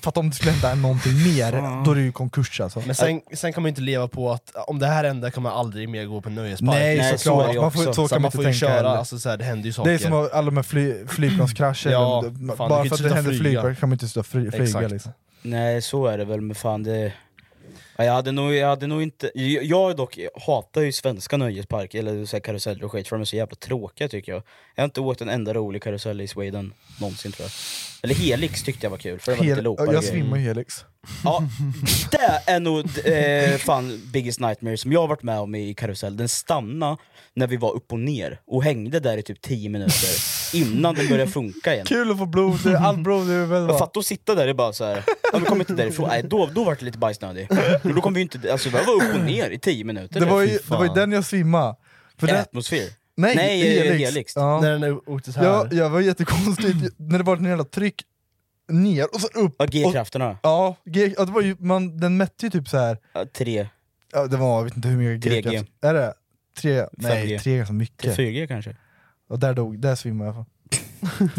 [SPEAKER 2] för att om det skulle hända någonting mer,
[SPEAKER 1] Ja.
[SPEAKER 2] då är det ju konkurs alltså.
[SPEAKER 1] Men sen, sen kan man ju inte leva på att om det här händer kommer jag aldrig mer gå på en nöjespark. Liksom.
[SPEAKER 2] Nej, Nej, såklart. så är det ju Man får- också. så
[SPEAKER 1] så
[SPEAKER 2] kan man
[SPEAKER 1] man
[SPEAKER 2] inte
[SPEAKER 1] får ju
[SPEAKER 2] tänka
[SPEAKER 1] köra,
[SPEAKER 2] heller.
[SPEAKER 1] alltså, så här, det händer ju saker.
[SPEAKER 2] Det är som alla de här fly, flygplanskrascher,
[SPEAKER 1] Ja,
[SPEAKER 2] de-
[SPEAKER 1] fan, du kan
[SPEAKER 2] bara
[SPEAKER 1] ju
[SPEAKER 2] för att det
[SPEAKER 1] sluta
[SPEAKER 2] händer
[SPEAKER 1] flyga.
[SPEAKER 2] flygplan kan man inte sluta fly, flyga
[SPEAKER 3] Exakt.
[SPEAKER 2] liksom.
[SPEAKER 3] Nej, så är det väl, men fan det... Ja, Jag hade nog, jag hade nog inte... Jag, jag dock hatar ju svenska nöjesparker, eller så här karuseller och skit, för de är så jävla tråkiga tycker jag. Jag har inte åkt en enda rolig karusell i Sweden någonsin tror jag. Eller Helix tyckte jag var kul, för det var lite
[SPEAKER 2] Hel-
[SPEAKER 3] loopar och
[SPEAKER 2] jag
[SPEAKER 3] grejer.
[SPEAKER 2] svimmar i Helix.
[SPEAKER 3] Ja, det är nog eh, fan biggest nightmare som jag har varit med om i karusell. Den stannade när vi var upp och ner och hängde där i typ 10 minuter innan den började funka igen.
[SPEAKER 2] Kul att få <laughs> blod, allt blod i huvudet.
[SPEAKER 3] Jag fattar att sitta där och bara såhär, ja, vi kommer inte därifrån, nej då, då vart det lite bajsnödig. Men då kom vi ju inte, alltså jag var upp och ner i 10 minuter.
[SPEAKER 2] Det var,
[SPEAKER 3] Fy
[SPEAKER 2] ju, det
[SPEAKER 3] fan.
[SPEAKER 2] var ju den jag svimmade. För den-
[SPEAKER 3] Atmosfär.
[SPEAKER 2] Nej,
[SPEAKER 3] eh,
[SPEAKER 2] Helix. Ja.
[SPEAKER 1] När den åkte så här.
[SPEAKER 2] Jag, jag var jättekonstigt, när det var ett jävla tryck ner och så upp.
[SPEAKER 3] Ja, G-krafterna.
[SPEAKER 2] Ja, G, ja det var ju, man, den mätte ju typ så här.
[SPEAKER 3] Ja, tre.
[SPEAKER 2] Ja, det var, jag vet inte hur mycket
[SPEAKER 3] 3G.
[SPEAKER 2] G-kraft. Är det? Tre? Nej,
[SPEAKER 3] 5G.
[SPEAKER 2] tre är ganska mycket.
[SPEAKER 3] 4G kanske.
[SPEAKER 2] Och där dog, där svimmade jag.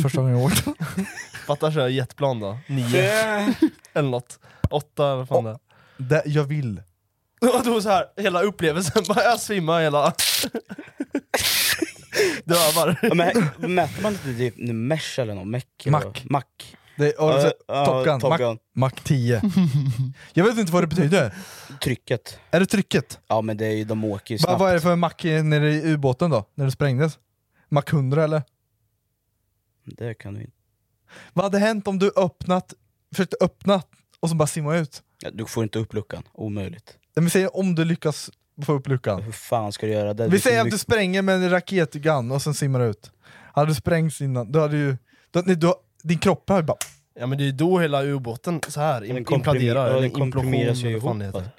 [SPEAKER 2] Första gången jag åkte.
[SPEAKER 1] Fattar så här jetplan då? Nio. <laughs> eller något. Åtta eller vad fan det är.
[SPEAKER 2] Där, jag vill.
[SPEAKER 1] Och då så här, hela upplevelsen, <laughs> bara jag svimmar <laughs> hela... Dövar.
[SPEAKER 3] Ja, men här- mäter man inte typ nu mesh eller något? Mech? eller
[SPEAKER 2] Mac.
[SPEAKER 3] vad? Mac.
[SPEAKER 2] Det, och så,
[SPEAKER 3] Ja,
[SPEAKER 2] Top Gun,
[SPEAKER 3] Top
[SPEAKER 2] Mac-
[SPEAKER 3] Gun.
[SPEAKER 2] Mac 10. jag vet inte vad det betyder.
[SPEAKER 3] Trycket.
[SPEAKER 2] Är det trycket?
[SPEAKER 3] Ja men det är ju, de åker ju
[SPEAKER 2] Va,
[SPEAKER 3] snabbt.
[SPEAKER 2] vad är det för Mac i- nere i ubåten då? När det sprängdes? Mac 100 eller?
[SPEAKER 3] Det kan du inte.
[SPEAKER 2] Vad hade hänt om du öppnat, försökte öppna och så bara simma ut?
[SPEAKER 3] Ja, du får inte upp luckan, omöjligt.
[SPEAKER 2] Nej, Men säg om du lyckas få upp luckan.
[SPEAKER 3] Hur fan ska du göra det?
[SPEAKER 2] Vi
[SPEAKER 3] kan
[SPEAKER 2] säger att du
[SPEAKER 3] mycket-
[SPEAKER 2] spränger med en raketgun och sen simmar du ut. Hade du sprängts innan, du hade ju... Du, nej, du, din kropp har ju bara...
[SPEAKER 1] Ja men det är ju då hela ubåten så här
[SPEAKER 3] Den
[SPEAKER 1] im-
[SPEAKER 3] komprimer-
[SPEAKER 1] imploderar,
[SPEAKER 3] ja,
[SPEAKER 1] eller
[SPEAKER 3] den komprimeras
[SPEAKER 1] implosion
[SPEAKER 3] ju
[SPEAKER 1] eller vad fan det
[SPEAKER 3] ihop. alltså.
[SPEAKER 1] heter.
[SPEAKER 3] va?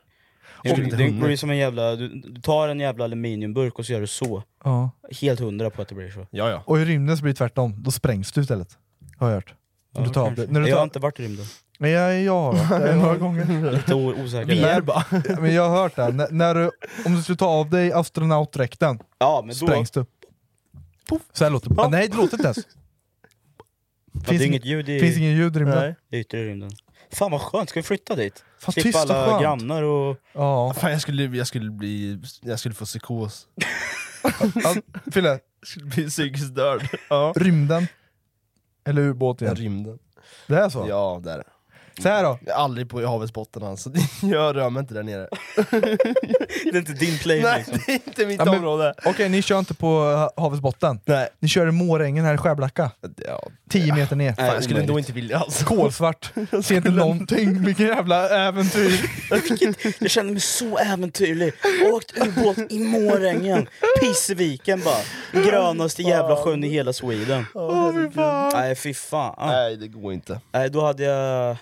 [SPEAKER 3] Det
[SPEAKER 1] Skulle
[SPEAKER 3] blir-
[SPEAKER 1] inte
[SPEAKER 3] det
[SPEAKER 1] hundra.
[SPEAKER 3] blir som en jävla, du, du tar en jävla aluminiumburk och så gör du så.
[SPEAKER 2] Ja.
[SPEAKER 3] Helt hundra på att det blir så.
[SPEAKER 1] Ja, ja.
[SPEAKER 2] Och i rymden så blir det tvärtom, då sprängs du istället. Har jag hört. När du tar av dig- när du
[SPEAKER 3] Jag
[SPEAKER 2] tar-
[SPEAKER 3] har inte varit i
[SPEAKER 2] <laughs>
[SPEAKER 3] rymden.
[SPEAKER 2] Nej, jag, jag
[SPEAKER 3] <laughs>
[SPEAKER 2] har hört det några gånger.
[SPEAKER 3] Lite o- osäker.
[SPEAKER 2] Men- Men jag har hört det, när, när du, om du skulle ta av dig astronautdräkten,
[SPEAKER 3] Ja, men då-
[SPEAKER 2] sprängs du. Poff. Så här låter det. Ah, nej det låter inte ens.
[SPEAKER 3] Ja,
[SPEAKER 2] Finns
[SPEAKER 3] det är
[SPEAKER 2] ing-
[SPEAKER 3] inget ljud i...
[SPEAKER 2] finns ingen ljud i rymden. Nej.
[SPEAKER 3] Det är yttre rymden. Fan vad skönt, ska vi flytta dit?
[SPEAKER 2] Fan,
[SPEAKER 3] Slippa
[SPEAKER 2] tyst och
[SPEAKER 3] alla
[SPEAKER 2] skönt.
[SPEAKER 3] grannar och...
[SPEAKER 2] Ja.
[SPEAKER 1] Fan, jag, skulle, jag, skulle bli, jag skulle få psykos.
[SPEAKER 2] Fille?
[SPEAKER 1] Jag skulle bli psykiskt störd.
[SPEAKER 2] Rymden? Eller ubåt igen?
[SPEAKER 1] Rymden.
[SPEAKER 2] Det är så?
[SPEAKER 1] Ja, det är det.
[SPEAKER 2] Så här då?
[SPEAKER 1] Jag är aldrig på havets botten alltså, <laughs> jag rör mig inte där nere.
[SPEAKER 3] det är
[SPEAKER 2] <laughs>
[SPEAKER 3] inte din play
[SPEAKER 1] Nej,
[SPEAKER 3] liksom.
[SPEAKER 1] det är inte mitt
[SPEAKER 2] Ja, men-
[SPEAKER 1] område.
[SPEAKER 2] Okej, ni kör inte på eh, havets botten?
[SPEAKER 1] Nej.
[SPEAKER 2] Ni kör i Mårängen här i Skärblacka?
[SPEAKER 1] Ja.
[SPEAKER 2] 10 meter ner.
[SPEAKER 1] Fan, jag skulle ändå inte vilja alltså.
[SPEAKER 3] <laughs>
[SPEAKER 2] Kolsvart. Ser inte någonting. Vilken jävla äventyr.
[SPEAKER 3] Jag känner mig så äventyrlig. Åkt ubåt i Mårängen, Pissviken bara. Grönaste jävla sjön i hela Sweden.
[SPEAKER 1] Åh, fy fan.
[SPEAKER 3] Nej fy fan.
[SPEAKER 1] Nej det går inte.
[SPEAKER 3] Nej då hade jag...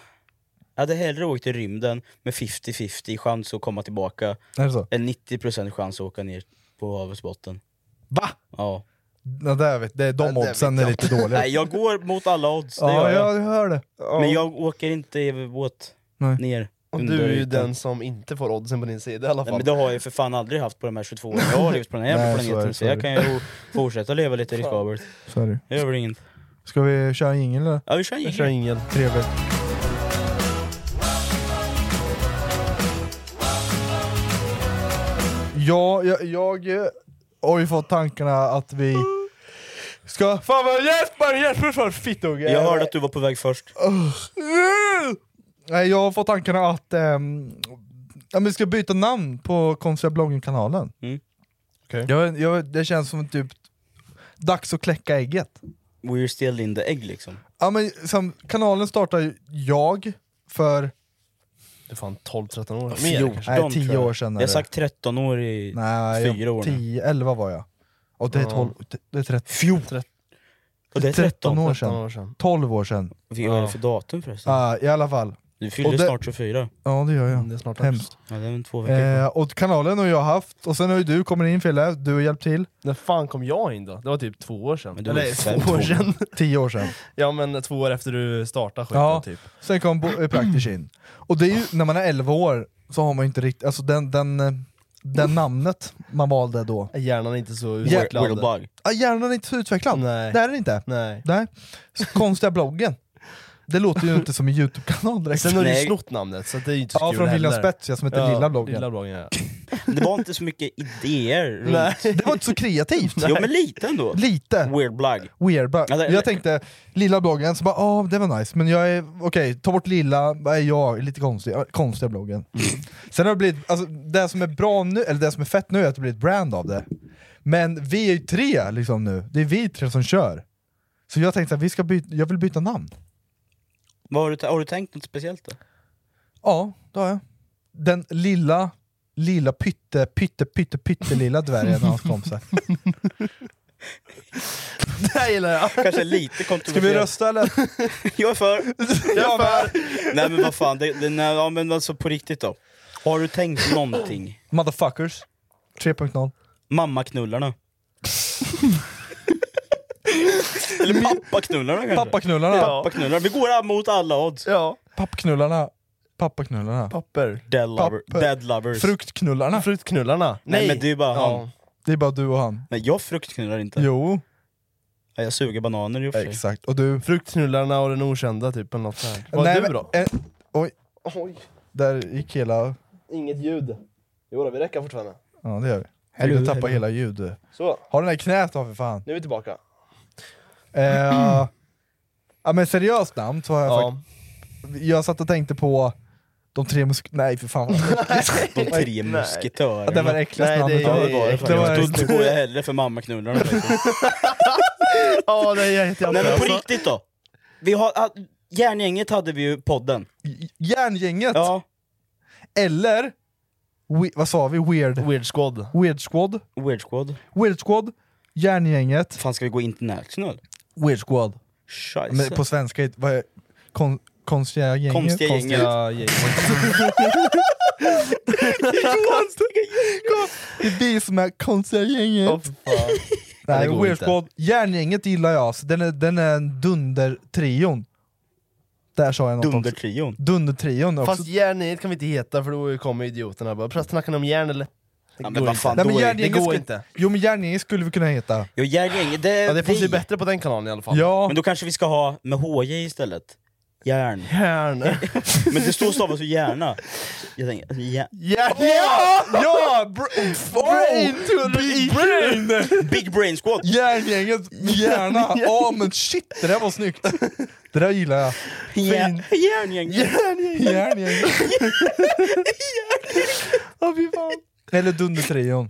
[SPEAKER 3] Jag hade hellre åkt i rymden med 50-50 chans att komma tillbaka.
[SPEAKER 2] Är det så?
[SPEAKER 3] En 90% chans att åka ner på havets botten.
[SPEAKER 2] Va?
[SPEAKER 3] Ja.
[SPEAKER 2] Ja, det vet, det är de oddsen är lite dåliga.
[SPEAKER 3] Nej jag går mot alla odds, det
[SPEAKER 2] ja,
[SPEAKER 3] gör jag.
[SPEAKER 2] jag hör det.
[SPEAKER 3] Men jag åker inte i båt
[SPEAKER 2] Nej.
[SPEAKER 3] ner.
[SPEAKER 1] Och
[SPEAKER 3] under
[SPEAKER 1] du är ju
[SPEAKER 3] ytan.
[SPEAKER 1] den som inte får oddsen på din sida i alla
[SPEAKER 3] Nej,
[SPEAKER 1] fall.
[SPEAKER 3] men det har jag ju för fan aldrig haft på de här 22 åren jag har levt på den här
[SPEAKER 2] <laughs>
[SPEAKER 3] jävla
[SPEAKER 2] Nej, så är
[SPEAKER 3] planeten.
[SPEAKER 2] det,
[SPEAKER 3] Så,
[SPEAKER 2] så är
[SPEAKER 3] jag
[SPEAKER 2] det.
[SPEAKER 3] kan ju fortsätta leva lite riskabelt.
[SPEAKER 2] Så är det.
[SPEAKER 3] Det gör väl inget.
[SPEAKER 2] Ska vi köra en jingel eller?
[SPEAKER 3] Ja vi kör en jingel.
[SPEAKER 1] ingen.
[SPEAKER 2] Trevligt. Ja, jag, jag eh, har ju fått tankarna att vi Ska... Fan vad Jesper! Jesper för fittunge!
[SPEAKER 3] Jag hörde att du var på väg först.
[SPEAKER 2] Nej, jag har fått tankarna att ehm, ja, men vi ska byta namn på konstiga bloggen-kanalen.
[SPEAKER 3] Mm.
[SPEAKER 2] Jag, jag, det känns som typ dags att kläcka ägget.
[SPEAKER 3] We're still in the egg liksom.
[SPEAKER 2] Ja, men, som, kanalen startar ju jag för...
[SPEAKER 1] Det är fan 12-13 år
[SPEAKER 2] Fjorton, Nej, 10 år sedan. är
[SPEAKER 3] Jag har
[SPEAKER 2] det.
[SPEAKER 3] sagt 13 år i
[SPEAKER 2] Nej, jag-
[SPEAKER 3] fyra år nu.
[SPEAKER 2] 10, 11 var jag. Och det är
[SPEAKER 3] Ja.
[SPEAKER 2] 12, det är 13,
[SPEAKER 3] Och det är
[SPEAKER 2] 13 år
[SPEAKER 3] 13 år
[SPEAKER 2] sedan.
[SPEAKER 3] sedan.
[SPEAKER 2] 12 år sedan.
[SPEAKER 3] Vad är det för datum förresten?
[SPEAKER 2] Ja, I alla fall.
[SPEAKER 3] Du fyller
[SPEAKER 2] Och det-
[SPEAKER 3] snart 24.
[SPEAKER 2] Ja det gör jag.
[SPEAKER 3] det är snart
[SPEAKER 2] Hemskt.
[SPEAKER 3] dags. Ja, det är väl två veckor
[SPEAKER 2] Eh, och kanalen har jag haft, och sen har ju du kommit in Fille, du har hjälpt till.
[SPEAKER 1] När fan kom jag in då? Det var typ två år sedan.
[SPEAKER 2] Men det var ju
[SPEAKER 1] Eller
[SPEAKER 2] fem-
[SPEAKER 1] två år
[SPEAKER 2] två-
[SPEAKER 1] sedan.
[SPEAKER 2] Tio år sedan.
[SPEAKER 1] ja men två år efter du startade skiten
[SPEAKER 2] Ja,
[SPEAKER 1] typ.
[SPEAKER 2] sen kom bo- eh, Praktisch in. Och det är ju, när man är 11 år så har man ju inte riktigt, alltså den, den, eh, den namnet man valde då.
[SPEAKER 1] Hjärnan är inte så
[SPEAKER 2] Hjär-
[SPEAKER 1] utvecklad.
[SPEAKER 2] Ja, hjärnan är inte så utvecklad.
[SPEAKER 1] Nej.
[SPEAKER 2] Det är den inte.
[SPEAKER 1] Nej.
[SPEAKER 2] Nej. Så konstiga bloggen. Det låter ju inte som en YouTube-kanal direkt.
[SPEAKER 1] Sen har du ju snott namnet så det är ju inte så
[SPEAKER 2] Ja,
[SPEAKER 1] kul
[SPEAKER 2] från William
[SPEAKER 1] heller.
[SPEAKER 2] Spetsia som heter Lilla bloggen.
[SPEAKER 1] Lilla
[SPEAKER 2] <laughs>
[SPEAKER 1] bloggen ja.
[SPEAKER 3] Det var inte så mycket
[SPEAKER 1] <laughs>
[SPEAKER 3] idéer runt.
[SPEAKER 2] Nej. Det var inte så kreativt. <laughs>
[SPEAKER 3] Jo men lite ändå.
[SPEAKER 2] Lite.
[SPEAKER 3] Weird blog.
[SPEAKER 2] Weird blog.
[SPEAKER 3] Ja, det-
[SPEAKER 2] jag tänkte, lilla bloggen, så bara ah, det var nice, men jag är, okej, ta bort lilla, vad är jag, lite konstig, ja, konstiga bloggen. Sen har det blivit, alltså det som är bra nu, eller det som är fett nu är att det blir ett brand av det. Men vi är ju tre liksom nu, det är vi tre som kör. Så jag tänkte att vi ska byta, jag vill byta namn.
[SPEAKER 3] Vad har, du, har du tänkt något speciellt då?
[SPEAKER 2] Ja, det har jag. Den lilla, lilla pytte, pytte, pytte, pyttelilla dvärgen och hans <laughs> kompisar.
[SPEAKER 1] Det här gillar jag!
[SPEAKER 3] Kanske lite kontroversiellt.
[SPEAKER 2] <laughs> Ska vi rösta eller?
[SPEAKER 3] jag
[SPEAKER 2] <laughs>
[SPEAKER 3] är för!
[SPEAKER 2] Jag är
[SPEAKER 3] för! Nej men vad fan, det, det, nej, ja, men alltså på riktigt då. Har du tänkt någonting?
[SPEAKER 2] Motherfuckers 3.0. <laughs>
[SPEAKER 3] Mammaknullarna? Eller pappaknullarna kanske?
[SPEAKER 2] Pappaknullarna. Ja.
[SPEAKER 3] Pappaknullarna. Vi går mot alla odds.
[SPEAKER 1] Ja.
[SPEAKER 2] Pappknullarna. Pappaknullarna.
[SPEAKER 1] Papper.
[SPEAKER 3] Dead, lover,
[SPEAKER 2] Papper.
[SPEAKER 3] dead lovers.
[SPEAKER 2] Fruktknullarna.
[SPEAKER 1] Fruktknullarna.
[SPEAKER 3] Nej, men det är ju bara han.
[SPEAKER 2] Det är bara du och han.
[SPEAKER 3] Nej jag fruktknullar inte.
[SPEAKER 2] Jo.
[SPEAKER 3] Nej, Jag suger bananer i och för sig.
[SPEAKER 2] Exakt. Och du?
[SPEAKER 1] Fruktknullarna och den okända typ eller något sånt. Vad är du
[SPEAKER 2] men-
[SPEAKER 1] då?
[SPEAKER 2] eh, oj.
[SPEAKER 1] Oj.
[SPEAKER 2] Där gick hela...
[SPEAKER 1] Inget ljud. Jo då, vi räcker fortfarande.
[SPEAKER 2] Ja det gör vi.
[SPEAKER 1] Hello,
[SPEAKER 2] Hello, tappa
[SPEAKER 1] hello.
[SPEAKER 2] hela ljud.
[SPEAKER 1] Så.
[SPEAKER 2] Har den här knät av för fan.
[SPEAKER 1] Nu är vi tillbaka.
[SPEAKER 2] Eh, ja men seriöst namn så har jag
[SPEAKER 1] Ja.
[SPEAKER 2] fakt- Jag satt och tänkte på de tre musk... Nej för fan vad äckligt.
[SPEAKER 3] De tre musketörerna.
[SPEAKER 2] Ja, det var det äckligaste namnet.
[SPEAKER 3] Ja, det var det
[SPEAKER 2] Det var
[SPEAKER 3] faktiskt. Då, då går jag hellre för mammaknullarna.
[SPEAKER 2] <laughs>
[SPEAKER 1] Ja, det är
[SPEAKER 3] Nej men på
[SPEAKER 1] alltså.
[SPEAKER 3] riktigt då. Vi har, ah, järngänget hade vi ju podden.
[SPEAKER 2] Järngänget?
[SPEAKER 3] Ja.
[SPEAKER 2] Eller, we, vad sa vi? Weird...
[SPEAKER 1] Weird Squad.
[SPEAKER 2] Weird Squad.
[SPEAKER 3] Weird Squad.
[SPEAKER 2] Weird Squad. Järngänget.
[SPEAKER 3] Fan ska vi gå international?
[SPEAKER 2] Weird Squad.
[SPEAKER 3] Scheisse.
[SPEAKER 2] Men på svenska, vad är, kon, konstiga gänget?
[SPEAKER 3] Konstiga gänget.
[SPEAKER 2] Det är vi som är konstiga gänget.
[SPEAKER 1] Det
[SPEAKER 2] Nej,
[SPEAKER 1] går
[SPEAKER 2] Weird
[SPEAKER 1] inte.
[SPEAKER 2] Squad. Järngänget gillar jag, så den är, den är en dundertrion. Där sa jag något
[SPEAKER 3] Dundertrion.
[SPEAKER 2] också. Dundertrion också.
[SPEAKER 1] Fast järnet kan vi inte heta för då kommer idioterna bara “Pratar snackar ni om järn eller?” Det
[SPEAKER 3] men
[SPEAKER 1] går
[SPEAKER 3] vad
[SPEAKER 1] inte.
[SPEAKER 3] fan,
[SPEAKER 2] Nej, men
[SPEAKER 1] Det
[SPEAKER 2] järngänget
[SPEAKER 1] går
[SPEAKER 2] skulle-
[SPEAKER 1] inte.
[SPEAKER 2] Jo men järngänget skulle vi kunna heta.
[SPEAKER 3] Ja järngänget, det är
[SPEAKER 1] Ja, det passar ju
[SPEAKER 3] vi.
[SPEAKER 1] bättre på den kanalen i alla fall.
[SPEAKER 2] Ja.
[SPEAKER 3] Men då kanske vi ska ha med HJ istället. Järn.
[SPEAKER 1] Järn.
[SPEAKER 3] Men det står stavas ju hjärna. Så Jag tänker, alltså, ja.
[SPEAKER 1] Järn.
[SPEAKER 2] Ja! Ja! Oh, Br- brain to the brain!
[SPEAKER 3] Big brain squad!
[SPEAKER 2] Järngänget med hjärna. Ja men shit, det där var snyggt. Det där gillar jag.
[SPEAKER 3] Järn- Järngänget! <laughs>
[SPEAKER 2] Järngänget. <laughs> Ja, fy fan. Eller Dundertrion.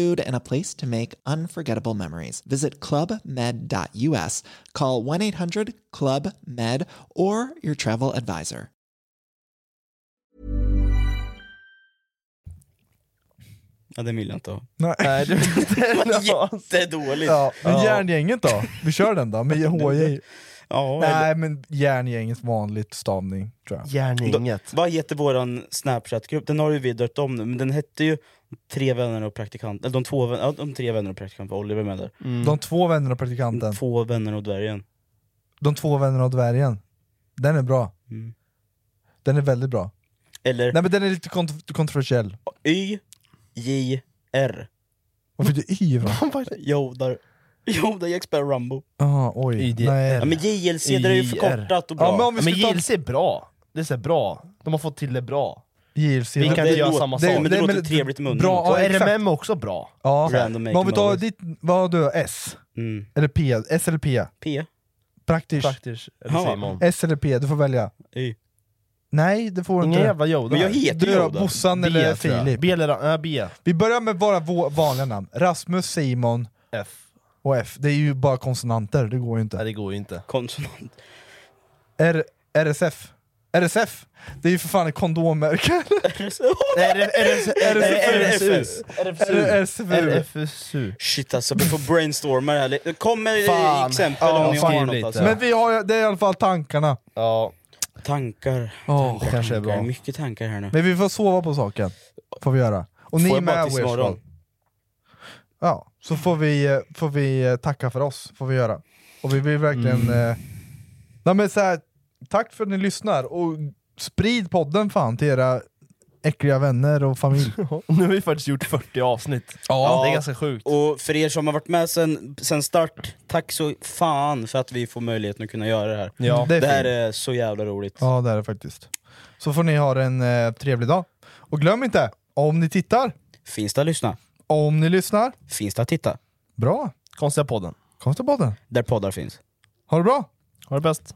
[SPEAKER 6] and a place to make unforgettable memories. Visit clubmed.us, call 1 800 Club Med, or your travel advisor.
[SPEAKER 3] Ja den vill jag inte ha.
[SPEAKER 2] Nej.
[SPEAKER 1] Nej, <laughs> det är inte
[SPEAKER 3] Jättedåligt!
[SPEAKER 2] Ja, men järngänget då? Vi kör den då, med HJ.
[SPEAKER 3] Ja,
[SPEAKER 2] Nej men järngänget vanligt stavning tror jag.
[SPEAKER 3] Då- Vad heter våran snapchat-grupp? Den har ju vi döpt om nu, men den hette ju tre vänner och praktikant, eller de, två, vän- ja, de tre vänner och praktikant var Oliver med där.
[SPEAKER 2] De två vännerna och praktikanten.
[SPEAKER 3] Två vänner och dvärgen.
[SPEAKER 2] De två vännerna och dvärgen. Den är bra.
[SPEAKER 3] Mm.
[SPEAKER 2] Den är väldigt bra.
[SPEAKER 3] Eller
[SPEAKER 2] Nej men den är lite kont- kontroversiell.
[SPEAKER 3] Y, J, R.
[SPEAKER 2] Varför är det Y va?
[SPEAKER 3] Jodar. Jodar Jack Sparrow Rumbo.
[SPEAKER 2] Jaha, Ah, oj. Nej.
[SPEAKER 3] Ja, men JLC, det är ju förkortat och bra.
[SPEAKER 1] Ja, men om vi
[SPEAKER 3] skulle ta-
[SPEAKER 1] JLC är bra. Det är så här bra. De har fått till det bra.
[SPEAKER 2] JLC.
[SPEAKER 1] Vi kan
[SPEAKER 2] Det
[SPEAKER 1] inte göra
[SPEAKER 2] låter-
[SPEAKER 1] samma
[SPEAKER 2] det-
[SPEAKER 1] sak.
[SPEAKER 2] det- men- Bra,
[SPEAKER 1] och
[SPEAKER 2] ja, exakt.
[SPEAKER 1] RMM är också bra.
[SPEAKER 2] Ja.
[SPEAKER 1] Random
[SPEAKER 2] men om vi tar
[SPEAKER 1] Making
[SPEAKER 2] ditt, vad du, S? Eller P? S eller P?
[SPEAKER 3] P.
[SPEAKER 2] Praktisch.
[SPEAKER 1] Praktisch, eller säger man.
[SPEAKER 2] S eller P, du får välja.
[SPEAKER 3] Y.
[SPEAKER 2] Nej, det får du
[SPEAKER 1] Ingen
[SPEAKER 2] inte.
[SPEAKER 1] jävla Yoda. Men jag heter
[SPEAKER 2] du,
[SPEAKER 1] Yoda.
[SPEAKER 2] Bossan
[SPEAKER 1] B,
[SPEAKER 2] eller
[SPEAKER 1] tror jag.
[SPEAKER 2] Filip?
[SPEAKER 1] B eller, äh, B.
[SPEAKER 2] Vi börjar med bara vå- vanliga namn. Rasmus, Simon
[SPEAKER 1] F.
[SPEAKER 2] och F. Det är ju bara konsonanter, det går ju inte. Nej,
[SPEAKER 1] det går ju inte.
[SPEAKER 3] Konsonant.
[SPEAKER 2] R- RSF. RSF! Det är ju för fan ett kondommärke.
[SPEAKER 3] RFSU.
[SPEAKER 2] <laughs>
[SPEAKER 1] RFSU.
[SPEAKER 3] Shit alltså, vi får brainstorma det här lite. Kom med
[SPEAKER 2] Fan.
[SPEAKER 3] exempel
[SPEAKER 2] Ja,
[SPEAKER 3] om ni
[SPEAKER 2] fan.
[SPEAKER 3] har något alltså.
[SPEAKER 2] Men vi har, det är i alla fall tankarna.
[SPEAKER 1] Ja.
[SPEAKER 3] Tankar.
[SPEAKER 2] Åh,
[SPEAKER 3] tankar,
[SPEAKER 2] kanske är
[SPEAKER 3] tankar.
[SPEAKER 2] bra.
[SPEAKER 3] Mycket tankar här nu.
[SPEAKER 2] Men vi får sova på saken. Får vi göra. Och ni
[SPEAKER 3] Får
[SPEAKER 2] är
[SPEAKER 3] jag bara
[SPEAKER 2] med
[SPEAKER 3] tills
[SPEAKER 2] Wishful.
[SPEAKER 3] imorgon?
[SPEAKER 2] Ja, så får vi, eh, får vi eh, tacka för oss. Får vi göra. Och vi vill verkligen...
[SPEAKER 3] Mm.
[SPEAKER 2] Eh, nej men så här, tack för att ni lyssnar och sprid podden fan till era äckliga vänner och
[SPEAKER 3] <laughs>
[SPEAKER 2] familj.
[SPEAKER 1] Nu har vi faktiskt gjort 40 avsnitt.
[SPEAKER 2] Ja.
[SPEAKER 1] Det är ganska sjukt.
[SPEAKER 3] Och för er som har varit med sen, sen start, tack så fan för att vi får möjligheten att kunna göra det här.
[SPEAKER 2] Ja.
[SPEAKER 3] det,
[SPEAKER 2] Det är
[SPEAKER 3] här
[SPEAKER 2] fint.
[SPEAKER 3] är så jävla roligt.
[SPEAKER 2] Ja det är det faktiskt. Så får ni ha en eh, trevlig dag. Och glöm inte, om ni tittar,
[SPEAKER 3] Finns det att lyssna?
[SPEAKER 2] om ni lyssnar,
[SPEAKER 3] Finns det att titta?
[SPEAKER 2] bra.
[SPEAKER 1] Konstiga podden.
[SPEAKER 2] Konstiga podden.
[SPEAKER 3] Där poddar finns.
[SPEAKER 2] Ha det bra!
[SPEAKER 1] Ha det bäst.